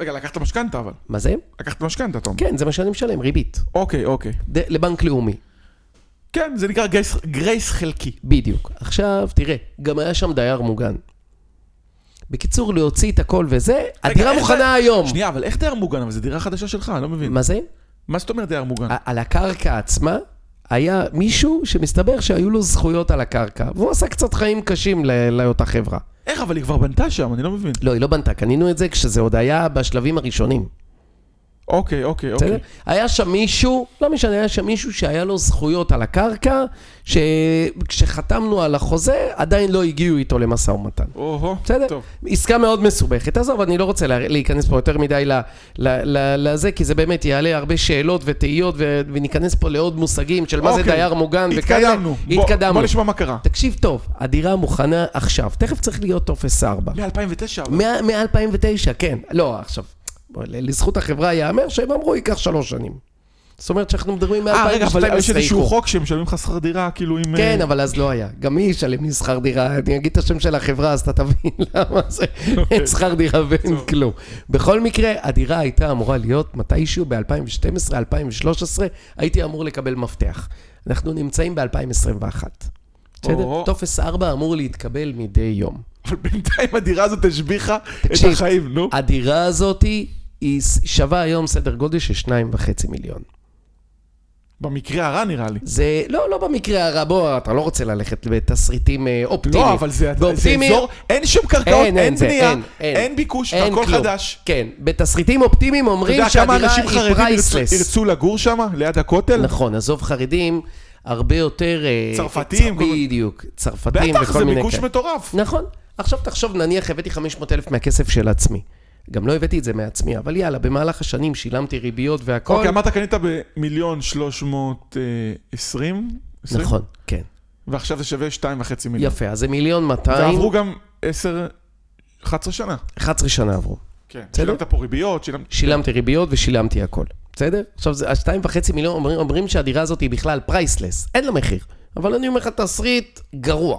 [SPEAKER 1] רגע, לקחת משכנתה אבל.
[SPEAKER 2] מה זה?
[SPEAKER 1] לקחת משכנתה, אתה אומר.
[SPEAKER 2] כן, זה מה שאני משלם, ריבית.
[SPEAKER 1] אוקיי, אוקיי.
[SPEAKER 2] ד- לבנק לאומי,
[SPEAKER 1] כן, זה נקרא גרייס- גרייס חלקי.
[SPEAKER 2] בדיוק. עכשיו, תראה, גם היה שם דייר מוגן. בקיצור, להוציא את הכל וזה,
[SPEAKER 1] רגע,
[SPEAKER 2] הדירה
[SPEAKER 1] איך
[SPEAKER 2] מוכנה
[SPEAKER 1] זה-
[SPEAKER 2] היום.
[SPEAKER 1] שנייה, אבל איך דייר מוגן? אבל זו דירה חדשה שלך, אני לא מבין.
[SPEAKER 2] מה זה?
[SPEAKER 1] מה זאת אומרת דייר מוגן?
[SPEAKER 2] על הקרקע עצמה, היה מישהו שמסתבר שהיו לו זכויות על הקרקע, והוא עשה קצת חיים קשים ל- לאותה חברה.
[SPEAKER 1] איך, אבל היא כבר בנתה שם, אני לא מבין.
[SPEAKER 2] לא, היא לא בנתה, קנינו את זה כשזה עוד היה בשלבים הראשונים,
[SPEAKER 1] אוקיי, אוקיי,
[SPEAKER 2] בסדר?
[SPEAKER 1] אוקיי.
[SPEAKER 2] היה שם מישהו, לא משנה, היה שם מישהו שהיה לו זכויות על הקרקע, שכשחתמנו על החוזה, עדיין לא הגיעו איתו למשא ומתן.
[SPEAKER 1] או-הו,
[SPEAKER 2] בסדר?
[SPEAKER 1] טוב.
[SPEAKER 2] עסקה מאוד מסובכת. עזוב, אני לא רוצה לה- להיכנס פה יותר מדי ל- ל- ל- לזה, כי זה באמת יעלה הרבה שאלות ותהיות, ו- וניכנס פה לעוד מושגים של מה זה
[SPEAKER 1] אוקיי.
[SPEAKER 2] דייר מוגן וכאלה.
[SPEAKER 1] התקדמנו. בוא- בוא נשמע מה קרה.
[SPEAKER 2] תקשיב טוב, הדירה מוכנה עכשיו, תכף צריך להיות טופס 4.
[SPEAKER 1] מ-2009. אבל.
[SPEAKER 2] מ-2009, כן. לא, עכשיו, בוא, ל- לזכות החברה ייאמר שהם אמרו ייקח שלוש שנים. זאת אומרת שאנחנו מדברים מ-2012
[SPEAKER 1] אה, רגע, אבל יש איזשהו חוק שמשלמים לך שכר דירה, כאילו עם...
[SPEAKER 2] כן,
[SPEAKER 1] אה,
[SPEAKER 2] אבל אז לא היה. גם מי ישלם לי שכר דירה? אני אגיד את השם של החברה, אז אתה תבין למה זה...
[SPEAKER 1] אוקיי.
[SPEAKER 2] אין שכר דירה ואין כלום. בכל מקרה, הדירה הייתה אמורה להיות מתישהו ב-2012, 2013, הייתי אמור לקבל מפתח. אנחנו נמצאים ב-2021. בסדר?
[SPEAKER 1] או.
[SPEAKER 2] טופס 4 אמור להתקבל מדי יום.
[SPEAKER 1] אבל בינתיים הדירה הזאת השביחה את
[SPEAKER 2] תקשיב, אה.
[SPEAKER 1] החיים, נו.
[SPEAKER 2] הדירה הזאת היא ס- שווה היום סדר גודל של שניים וחצי מיליון.
[SPEAKER 1] במקרה הרע נראה לי.
[SPEAKER 2] זה לא, לא במקרה הרע, בוא, אתה לא רוצה ללכת בתסריטים אה, אופטימיים.
[SPEAKER 1] לא, אבל זה זה
[SPEAKER 2] באופטימי-
[SPEAKER 1] אזור, אין שם קרקעות, אין
[SPEAKER 2] זה,
[SPEAKER 1] בנייה, אין ביקוש,
[SPEAKER 2] אין
[SPEAKER 1] הכל
[SPEAKER 2] כלום.
[SPEAKER 1] חדש.
[SPEAKER 2] כן, בתסריטים אופטימיים
[SPEAKER 1] אתה
[SPEAKER 2] אומרים
[SPEAKER 1] יודע כמה
[SPEAKER 2] שהדירה
[SPEAKER 1] אנשים
[SPEAKER 2] היא
[SPEAKER 1] חרדים ירצו-
[SPEAKER 2] פרייסלס.
[SPEAKER 1] ירצו לגור שם, ליד הכותל?
[SPEAKER 2] נכון, עזוב חרדים, הרבה יותר... אה,
[SPEAKER 1] צרפתים,
[SPEAKER 2] צר-
[SPEAKER 1] כל מיני-
[SPEAKER 2] בדיוק, צרפתים
[SPEAKER 1] בטח,
[SPEAKER 2] וכל
[SPEAKER 1] זה
[SPEAKER 2] מיני
[SPEAKER 1] ביקוש
[SPEAKER 2] כאלה.
[SPEAKER 1] מטורף.
[SPEAKER 2] נכון. עכשיו תחשוב, נניח הבאתי 500 אלף מהכסף של עצמי. גם לא הבאתי את זה מעצמי, אבל יאללה, במהלך השנים שילמתי ריביות והכל.
[SPEAKER 1] אוקיי, אמרת קנית במיליון שלוש מאות אה, עשרים? עשרים?
[SPEAKER 2] נכון, כן.
[SPEAKER 1] ועכשיו זה שווה שתיים וחצי מיליון.
[SPEAKER 2] יפה, אז זה מיליון 200,
[SPEAKER 1] ועברו גם עשר, 11 שנה.
[SPEAKER 2] 11 שנה עברו.
[SPEAKER 1] כן.
[SPEAKER 2] בסדר.
[SPEAKER 1] שילמת פה ריביות, שילמת...
[SPEAKER 2] שילמתי ריביות ושילמתי הכל, בסדר? עכשיו, זה- השתיים וחצי מיליון אומרים, אומרים שהדירה הזאת היא בכלל פרייסלס, אין לה מחיר. אבל אני אומר לך, תסריט גרוע,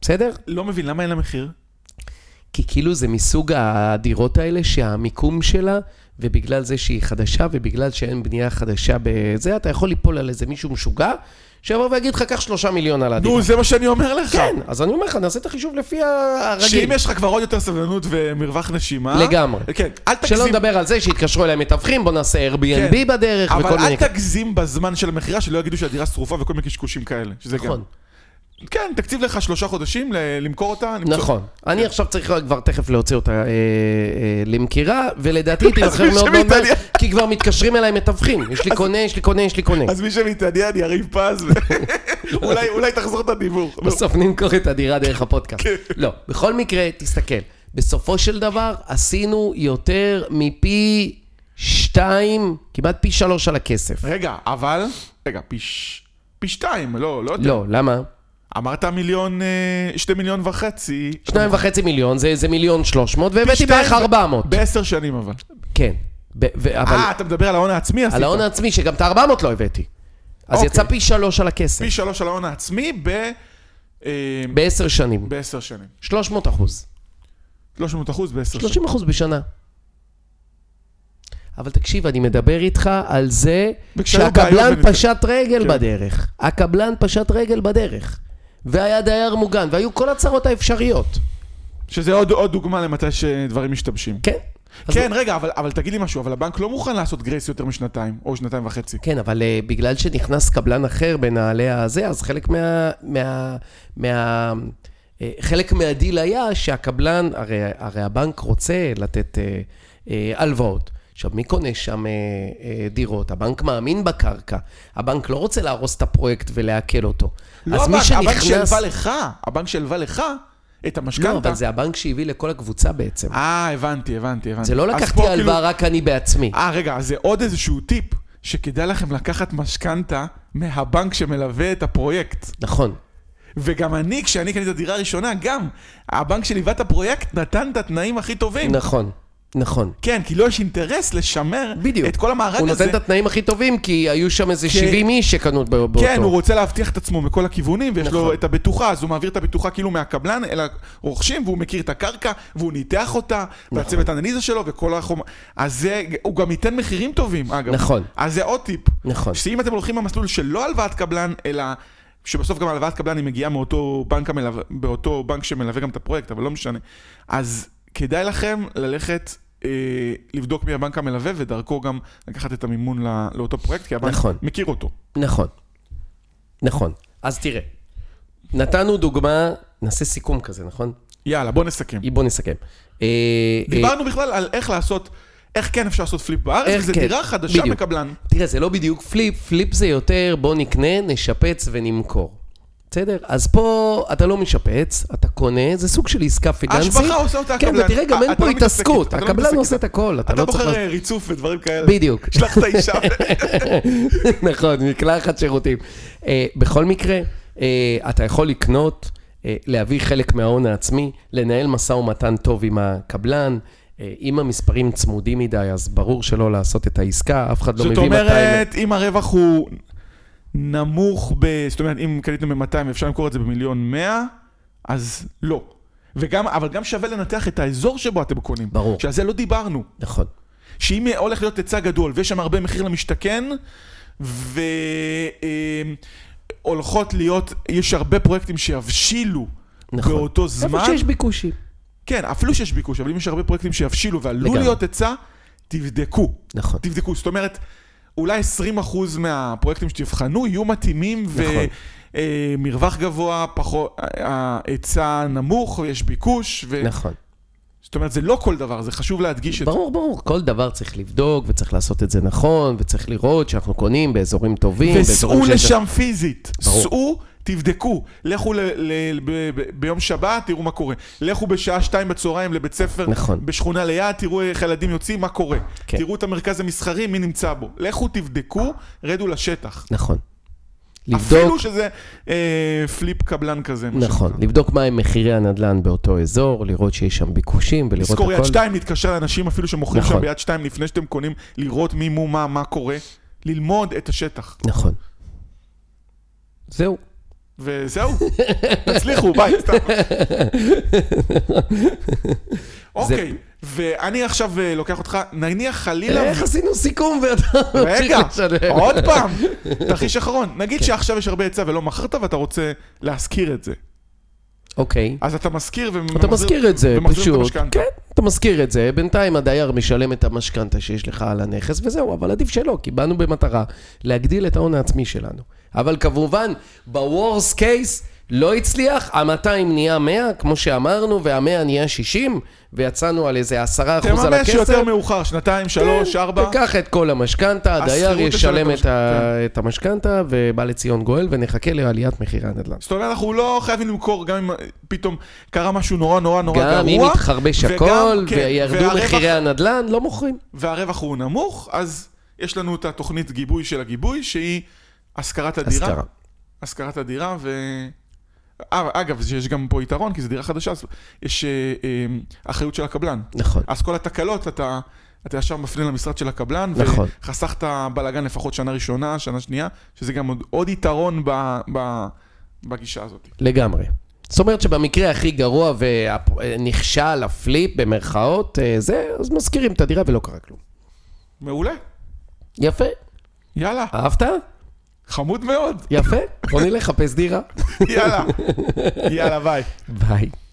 [SPEAKER 2] בסדר?
[SPEAKER 1] לא מבין, למה אין לה מחיר?
[SPEAKER 2] כי כאילו זה מסוג הדירות האלה שהמיקום שלה, ובגלל זה שהיא חדשה, ובגלל שאין בנייה חדשה בזה, אתה יכול ליפול על איזה מישהו משוגע, שיבוא ויגיד לך, קח שלושה מיליון על הדירה.
[SPEAKER 1] נו, זה מה שאני אומר לך.
[SPEAKER 2] כן, אז אני אומר לך, נעשה את החישוב לפי הרגיל.
[SPEAKER 1] שאם יש לך כבר עוד יותר סבלנות ומרווח נשימה...
[SPEAKER 2] לגמרי.
[SPEAKER 1] כן, אל תגזים.
[SPEAKER 2] שלא נדבר על זה שהתקשרו אליי מתווכים, בוא נעשה Airbnb
[SPEAKER 1] כן.
[SPEAKER 2] בדרך וכל
[SPEAKER 1] אבל
[SPEAKER 2] מיני...
[SPEAKER 1] אל תגזים בזמן של המכירה, שלא יגידו שהדירה שרופה וכל מיני קשקושים כאלה. שזה
[SPEAKER 2] נכון,
[SPEAKER 1] גם... כן, תקציב לך שלושה חודשים ל- למכור אותה. למצוא-
[SPEAKER 2] נכון. אני
[SPEAKER 1] כן.
[SPEAKER 2] עכשיו צריך כבר תכף להוציא אותה אה, אה, למכירה, ולדעתי היא תמכר
[SPEAKER 1] מי
[SPEAKER 2] מאוד מאוד מהר,
[SPEAKER 1] שמתעניין-
[SPEAKER 2] כי כבר מתקשרים אליי מתווכים. יש לי קונה, יש לי קונה, יש לי קונה.
[SPEAKER 1] אז מי שמתעניין, יריב פז, ו- אולי- אולי תחזור את הדיבור. נו.
[SPEAKER 2] בסוף נמכור את הדירה דרך הפודקאסט.
[SPEAKER 1] כן.
[SPEAKER 2] לא, בכל מקרה, תסתכל. בסופו של דבר, עשינו יותר מפי שתיים, כמעט פי שלוש על הכסף.
[SPEAKER 1] רגע, אבל... רגע, פי ש- פי שתיים, לא, לא יודע.
[SPEAKER 2] לא, למה?
[SPEAKER 1] אמרת מיליון, אה, שתי מיליון וחצי.
[SPEAKER 2] שניים וחצי מיליון, זה זה מיליון שלוש מאות,
[SPEAKER 1] פי
[SPEAKER 2] והבאתי
[SPEAKER 1] שתיים
[SPEAKER 2] בערך
[SPEAKER 1] ו-
[SPEAKER 2] ארבע מאות.
[SPEAKER 1] בעשר שנים אבל.
[SPEAKER 2] כן. ב- ו- אבל
[SPEAKER 1] אה, אתה מדבר על ההון העצמי?
[SPEAKER 2] על ההון העצמי, שגם את הארבע מאות לא הבאתי. אז
[SPEAKER 1] אוקיי.
[SPEAKER 2] יצא פי שלוש על הכסף.
[SPEAKER 1] פי שלוש על ההון העצמי ב... אה,
[SPEAKER 2] בעשר שנים.
[SPEAKER 1] בעשר שנים.
[SPEAKER 2] 300 אחוז.
[SPEAKER 1] 300 אחוז בעשר שנים.
[SPEAKER 2] 30 אחוז בשנה. אבל תקשיב, אני מדבר איתך על זה
[SPEAKER 1] וכשהיו בעיות
[SPEAKER 2] שהקבלן
[SPEAKER 1] ונתק-
[SPEAKER 2] פשט רגל
[SPEAKER 1] כן.
[SPEAKER 2] בדרך. הקבלן פשט רגל בדרך. והיה דייר מוגן, והיו כל הצרות האפשריות.
[SPEAKER 1] שזה עוד, עוד דוגמה למתי שדברים משתבשים.
[SPEAKER 2] כן. אז
[SPEAKER 1] כן, רגע, אבל, אבל תגיד לי משהו, אבל הבנק לא מוכן לעשות גרייס יותר משנתיים, או שנתיים וחצי.
[SPEAKER 2] כן, אבל אה, בגלל שנכנס קבלן אחר בנעלי הזה, אז חלק מה... מה, מה אה, חלק מהדיל היה שהקבלן, הרי, הרי הבנק רוצה לתת אה, אה, הלוואות. עכשיו, מי קונה שם אה, אה, דירות? הבנק מאמין בקרקע. הבנק לא רוצה להרוס את הפרויקט ולעכל אותו.
[SPEAKER 1] לא
[SPEAKER 2] אז מי
[SPEAKER 1] הבנק, הבנק
[SPEAKER 2] שנכנס-
[SPEAKER 1] שהלווה לך, הבנק שהלווה לך את המשכנתה.
[SPEAKER 2] לא, אבל זה הבנק שהביא לכל הקבוצה בעצם.
[SPEAKER 1] אה, הבנתי, הבנתי, הבנתי.
[SPEAKER 2] זה
[SPEAKER 1] אז
[SPEAKER 2] לא לקחתי
[SPEAKER 1] פה כאילו
[SPEAKER 2] הלוואה רק אני בעצמי.
[SPEAKER 1] אה, רגע, אז זה עוד איזשהו טיפ, שכדאי לכם לקחת משכנתה מהבנק שמלווה את הפרויקט.
[SPEAKER 2] נכון.
[SPEAKER 1] וגם אני, כשאני קניתי את הדירה הראשונה, גם, הבנק שליווה את הפרויקט נתן את התנאים הכי טובים.
[SPEAKER 2] נכון, נכון.
[SPEAKER 1] כן, כי לו יש אינטרס לשמר
[SPEAKER 2] בדיוק.
[SPEAKER 1] את כל המארג
[SPEAKER 2] הוא
[SPEAKER 1] הזה.
[SPEAKER 2] נותן את התנאים הכי טובים, כי היו שם איזה
[SPEAKER 1] כן.
[SPEAKER 2] 70 איש שקנו ב- באותו.
[SPEAKER 1] כן, הוא רוצה להבטיח את עצמו מכל הכיוונים, ויש
[SPEAKER 2] נכון.
[SPEAKER 1] לו את הבטוחה, אז הוא מעביר את הבטוחה כאילו מהקבלן אל הרוכשים, והוא מכיר את הקרקע, והוא ניתח אותה,
[SPEAKER 2] נכון.
[SPEAKER 1] והצוות האנליזה שלו, וכל החומר... אז זה, הוא גם ייתן מחירים טובים, אגב.
[SPEAKER 2] נכון.
[SPEAKER 1] אז זה עוד טיפ.
[SPEAKER 2] נכון.
[SPEAKER 1] שאם אתם הולכים במסלול של לא הלוואת קבלן, אלא... שבסוף גם הלוואת קבלן היא מגיעה מאותו בנק, המלווה, באותו בנק שמלווה גם את הפרויקט, אבל לא משנה. אז כדאי לכם ללכת, אה, לבדוק מי הבנק המלווה, ודרכו גם לקחת את המימון לא, לאותו פרויקט, כי הבנק
[SPEAKER 2] נכון.
[SPEAKER 1] מכיר אותו.
[SPEAKER 2] נכון. נכון. אז תראה, נתנו דוגמה, נעשה סיכום כזה, נכון?
[SPEAKER 1] יאללה, בוא נסכם.
[SPEAKER 2] בוא נסכם. אה, אה,
[SPEAKER 1] דיברנו בכלל על איך לעשות, איך כן אפשר לעשות פליפ בארץ,
[SPEAKER 2] איך
[SPEAKER 1] וזו
[SPEAKER 2] כן,
[SPEAKER 1] דירה חדשה
[SPEAKER 2] בדיוק.
[SPEAKER 1] מקבלן.
[SPEAKER 2] תראה, זה לא בדיוק פליפ, פליפ זה יותר בוא נקנה, נשפץ ונמכור. בסדר? אז פה אתה לא משפץ, אתה קונה, זה סוג של עסקה פיננסית.
[SPEAKER 1] ההשבחה עושה אותה
[SPEAKER 2] כן,
[SPEAKER 1] הקבלן.
[SPEAKER 2] ותראה, גם אין
[SPEAKER 1] אתה
[SPEAKER 2] פה
[SPEAKER 1] לא מתעסק
[SPEAKER 2] התעסקות.
[SPEAKER 1] איתה, אתה לא
[SPEAKER 2] הקבלן
[SPEAKER 1] מתעסק
[SPEAKER 2] עושה את
[SPEAKER 1] איתה.
[SPEAKER 2] הכל, אתה
[SPEAKER 1] אתה
[SPEAKER 2] לא צריך...
[SPEAKER 1] בוחר אה, ריצוף ודברים כאלה.
[SPEAKER 2] בדיוק.
[SPEAKER 1] שלח את האישה.
[SPEAKER 2] נכון, מקלחת שירותים. אה, בכל מקרה, אה, אתה יכול לקנות, אה, להביא חלק מההון העצמי, לנהל משא ומתן טוב עם הקבלן. אה, אם המספרים צמודים מדי, אז ברור שלא לעשות את העסקה, אף אחד לא
[SPEAKER 1] זאת
[SPEAKER 2] מבין מתי...
[SPEAKER 1] אומרת, אם הרווח הוא נמוך ב... זאת אומרת, אם קניתם ב-200 אפשר למכור את זה במיליון 100, אז לא. וגם, אבל גם שווה לנתח את האזור שבו אתם קונים.
[SPEAKER 2] ברור.
[SPEAKER 1] שעל זה לא דיברנו.
[SPEAKER 2] נכון,
[SPEAKER 1] שאם הולך להיות היצע גדול ויש שם הרבה מחיר למשתכן, ו- אה, הולכות להיות, יש הרבה פרויקטים שיבשילו
[SPEAKER 2] נכון.
[SPEAKER 1] באותו
[SPEAKER 2] איפה
[SPEAKER 1] זמן.
[SPEAKER 2] שיש ביקושים.
[SPEAKER 1] כן, אפילו שיש ביקוש, אבל אם יש הרבה פרויקטים שיבשילו ועלול
[SPEAKER 2] לגמרי.
[SPEAKER 1] להיות היצע, תבדקו.
[SPEAKER 2] נכון.
[SPEAKER 1] תבדקו, זאת אומרת, אולי 20% מהפרויקטים שתבחנו יהיו מתאימים
[SPEAKER 2] נכון.
[SPEAKER 1] ומרווח גבוה, פחות, ההיצע נמוך, יש ביקוש, ו...
[SPEAKER 2] נכון.
[SPEAKER 1] זאת אומרת, זה לא כל דבר, זה חשוב להדגיש את זה.
[SPEAKER 2] ברור, ברור, כל דבר צריך לבדוק, וצריך לעשות את זה נכון, וצריך לראות שאנחנו קונים באזורים טובים, באזורים
[SPEAKER 1] וסעו
[SPEAKER 2] שיש-
[SPEAKER 1] לשם פיזית.
[SPEAKER 2] ברור.
[SPEAKER 1] סעו, תבדקו. לכו ל- ל- ב- ב- ביום שבת, תראו מה קורה. לכו בשעה שתיים בצהריים לבית ספר,
[SPEAKER 2] נכון.
[SPEAKER 1] בשכונה ליד, תראו איך הילדים יוצאים, מה קורה.
[SPEAKER 2] כן.
[SPEAKER 1] תראו את המרכז המסחרי, מי נמצא בו. לכו תבדקו, רדו לשטח.
[SPEAKER 2] נכון. לבדוק,
[SPEAKER 1] אפילו שזה אה, פליפ קבלן כזה. מה
[SPEAKER 2] נכון,
[SPEAKER 1] שנקרא.
[SPEAKER 2] לבדוק מהם מחירי הנדלן באותו אזור, לראות שיש שם ביקושים ולראות הכל.
[SPEAKER 1] לזכור יד שתיים, להתקשר לאנשים אפילו שמוכרים
[SPEAKER 2] נכון.
[SPEAKER 1] שם ביד שתיים לפני שאתם קונים, לראות מי מו מה, מה קורה. ללמוד את השטח.
[SPEAKER 2] נכון. זהו.
[SPEAKER 1] וזהו, תצליחו, ביי, סתם. אוקיי, ואני עכשיו אה, לוקח אותך, נניח חלילה...
[SPEAKER 2] איך עשינו סיכום ואתה
[SPEAKER 1] רגע,
[SPEAKER 2] ממשיך לשלם.
[SPEAKER 1] עוד פעם, תרחיש אחרון. נגיד
[SPEAKER 2] כן.
[SPEAKER 1] שעכשיו יש הרבה היצע ולא מכרת ואתה רוצה להשכיר את זה.
[SPEAKER 2] אוקיי.
[SPEAKER 1] אז אתה משכיר ומחזיר...
[SPEAKER 2] אתה מזכיר את זה,
[SPEAKER 1] ומחזיר את
[SPEAKER 2] פשוט.
[SPEAKER 1] המשכנתה.
[SPEAKER 2] כן, אתה מזכיר את זה. בינתיים הדייר משלם את המשכנתה שיש לך על הנכס, וזהו, אבל עדיף שלא, כי באנו במטרה להגדיל את ההון העצמי שלנו. אבל כמובן, ב-Worst case לא הצליח, ה-200 נהיה 100, כמו שאמרנו, וה-100 נהיה 60, ויצאנו על איזה 10% על
[SPEAKER 1] תממש
[SPEAKER 2] הכסף. כן,
[SPEAKER 1] יותר מאוחר, שנתיים, שלוש, ארבע.
[SPEAKER 2] תיקח את כל המשכנתה, הדייר
[SPEAKER 1] השכירות תשלם
[SPEAKER 2] ישלם
[SPEAKER 1] את
[SPEAKER 2] את ה- את המשכנתה, ובא לציון גואל, ונחכה לעליית מחירי הנדל"ן.
[SPEAKER 1] זאת אומרת, אנחנו לא חייבים למכור, גם אם אה, פתאום קרה משהו נורא נורא נורא גרוע.
[SPEAKER 2] גם אם יתחרבש
[SPEAKER 1] וגם-
[SPEAKER 2] הכל,
[SPEAKER 1] כן,
[SPEAKER 2] וירדו
[SPEAKER 1] והרווח-
[SPEAKER 2] מחירי הנדל"ן, לא מוכרים.
[SPEAKER 1] והרווח הוא נמוך, אז יש לנו את התוכנית גיבוי של הגיבוי, שהיא השכרת הדירה.
[SPEAKER 2] השכרה.
[SPEAKER 1] השכרת הדירה, ו... אה, אגב, יש גם פה יתרון, כי זו דירה חדשה, אז יש אה, אה, אחריות של הקבלן.
[SPEAKER 2] נכון.
[SPEAKER 1] אז כל התקלות, אתה, אתה ישר מפנה למשרד של הקבלן,
[SPEAKER 2] נכון.
[SPEAKER 1] וחסכת בלאגן לפחות שנה ראשונה, שנה שנייה, שזה גם עוד, עוד יתרון ב, ב, בגישה הזאת.
[SPEAKER 2] לגמרי. זאת אומרת שבמקרה הכי גרוע ונכשל הפליפ במרכאות, אה, זה, אז מזכירים את הדירה ולא קרה כלום.
[SPEAKER 1] מעולה,
[SPEAKER 2] יפה,
[SPEAKER 1] יאללה,
[SPEAKER 2] אהבת?
[SPEAKER 1] חמוד מאוד,
[SPEAKER 2] יפה, בוא נלך לחפש דירה.
[SPEAKER 1] יאללה, יאללה, ביי.
[SPEAKER 2] ביי.